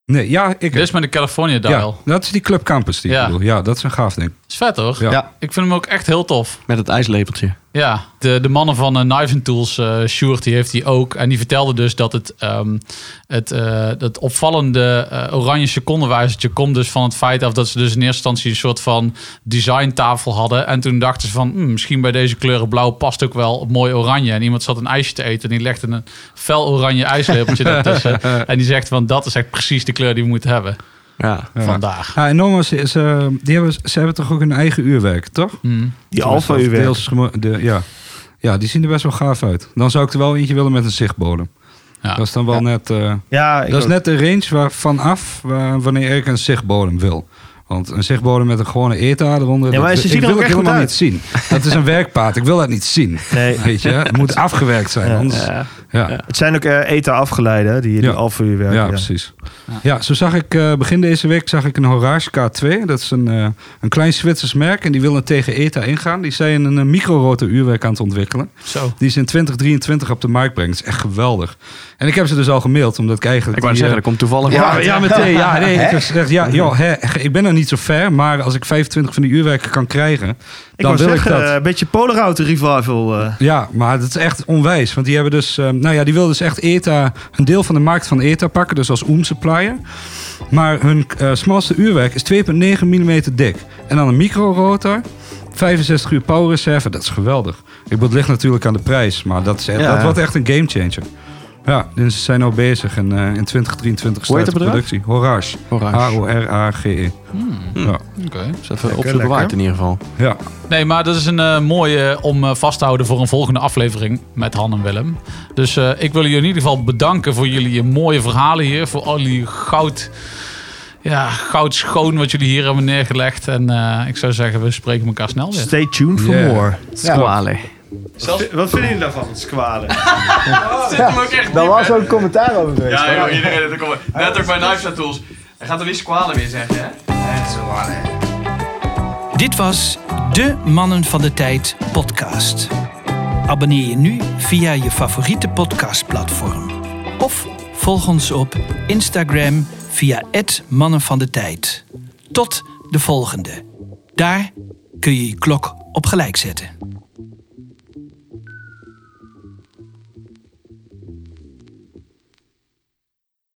Speaker 5: Nee, ja, ik
Speaker 3: Dit is met de California dial.
Speaker 5: ja, dat is die Club Campus die
Speaker 3: Ja.
Speaker 5: ik bedoel. Ja, dat is een gaaf ding.
Speaker 3: Is vet hoor.
Speaker 5: Ja.
Speaker 1: Ja.
Speaker 3: Ik vind hem ook echt heel tof.
Speaker 4: Met het ijslepeltje.
Speaker 3: Ja, de, de mannen van eh, Knives and Tools, eh Sjoerd, die heeft die ook. En die vertelde dus dat het, ehm, het, eh, dat opvallende eh, oranje secondenwijzertje komt dus van het feit af dat ze dus in eerste instantie een soort van designtafel hadden. En toen dachten ze van, "Hmm, misschien bij deze kleuren blauw past ook wel mooi oranje. En iemand zat een ijsje te eten en die legde een fel oranje ijslepeltje daartussen. En die zegt van, dat is echt precies de kleur die we moeten hebben
Speaker 4: Ja.
Speaker 5: Ja.
Speaker 3: vandaag.
Speaker 5: Ja, en Nomos, is, eh, die hebben, ze hebben toch ook een eigen uurwerk, toch?
Speaker 3: Hmm.
Speaker 6: Die Alfa u werkt.
Speaker 5: Deels gemo- de, ja. ja, die zien er best wel gaaf uit. Dan zou ik er wel eentje willen met een zichtbodem.
Speaker 3: Ja.
Speaker 5: Dat is dan wel net... eh,
Speaker 6: Ja, ik
Speaker 5: dat is
Speaker 6: ook.
Speaker 5: net de range waarvan af waar- wanneer ik een zichtbodem wil. Want een zichtbodem met een gewone eetaar eronder...
Speaker 6: Ja, maar
Speaker 5: dat,
Speaker 6: ze
Speaker 5: ik
Speaker 6: zien er
Speaker 5: wil
Speaker 6: ook
Speaker 5: ik
Speaker 6: echt goed
Speaker 5: helemaal niet
Speaker 6: uit.
Speaker 5: zien. Dat is een werkpaard. Ik wil dat niet zien.
Speaker 6: Nee.
Speaker 5: Weet je, het moet afgewerkt zijn.
Speaker 6: Ja.
Speaker 5: Anders, ja. Ja.
Speaker 6: Het zijn ook eh ETA afgeleiden, hè, die, die
Speaker 5: Ja.
Speaker 6: Alfa u werken. ja.
Speaker 5: precies. Ja, zo zag ik eh, begin deze week zag ik een Horage K2. Dat is een, eh, een klein Zwitsers merk en die willen tegen ETA ingaan. Die zijn een, een microrotor uurwerk aan het ontwikkelen.
Speaker 3: Zo.
Speaker 5: Die ze in 2023 op de markt brengen. Dat is echt geweldig. En ik heb ze dus al gemaild, omdat ik eigenlijk...
Speaker 4: Ik wou
Speaker 5: die,
Speaker 4: zeggen, dat
Speaker 5: eh,
Speaker 4: komt toevallig
Speaker 5: ja,
Speaker 4: uit.
Speaker 5: ja, meteen. Ja, nee, ik heb gezegd, ja, joh, hè, ik ben er niet zo ver, maar als ik 25 van die uurwerken kan krijgen,
Speaker 6: Ik
Speaker 5: dan
Speaker 6: wou
Speaker 5: wil
Speaker 6: zeggen,
Speaker 5: ik dat.
Speaker 6: eh, een beetje Polaroid revival. eh.
Speaker 5: Ja, maar dat is echt onwijs. Want die hebben dus, eh, nou ja, die wilden dus echt ETA, een deel van de markt van ETA pakken, dus als oom supplier. Maar hun eh smalste uurwerk is 2,9 mm dik. En dan een microrotor, 65 uur power reserve, dat is geweldig. Ik bedoel, het ligt natuurlijk aan de prijs, maar dat, is echt,
Speaker 6: Ja.
Speaker 5: dat wordt echt een gamechanger. Ja, dus ze zijn al bezig en eh, in 2023
Speaker 4: Hoe
Speaker 5: start
Speaker 4: heet
Speaker 5: de
Speaker 4: het bedrijf?
Speaker 5: productie. Horage.
Speaker 4: Oranje.
Speaker 5: H-O-R-A-G-E. E. Ja.
Speaker 3: Oké.
Speaker 4: Dus even opzoeken
Speaker 6: lekker.
Speaker 4: waard in ieder geval.
Speaker 5: ja,
Speaker 3: Nee, maar dat is een eh, mooie om eh, vast te houden voor een volgende aflevering met Han en Willem. Dus eh, ik wil jullie in ieder geval bedanken voor jullie eh, mooie verhalen hier. Voor al jullie goud, ja, goud schoon wat jullie hier hebben neergelegd. En eh, ik zou zeggen, we spreken elkaar snel weer.
Speaker 6: Stay tuned for
Speaker 5: Yeah.
Speaker 6: more.
Speaker 4: Squale.
Speaker 6: Wat vinden jullie daarvan, squalen?
Speaker 1: Daar was ook commentaar over geweest.
Speaker 4: Ja, joh, iedereen heeft er komen. Net ook bij Knives Tools. Hij gaat er niet squalen meer zeggen, hè?
Speaker 2: Dit was de Mannen van de Tijd podcast. Abonneer je nu via je favoriete podcastplatform. Of volg ons op Instagram via het Mannen van de Tijd. Tot de volgende. Daar kun je je klok op gelijk zetten.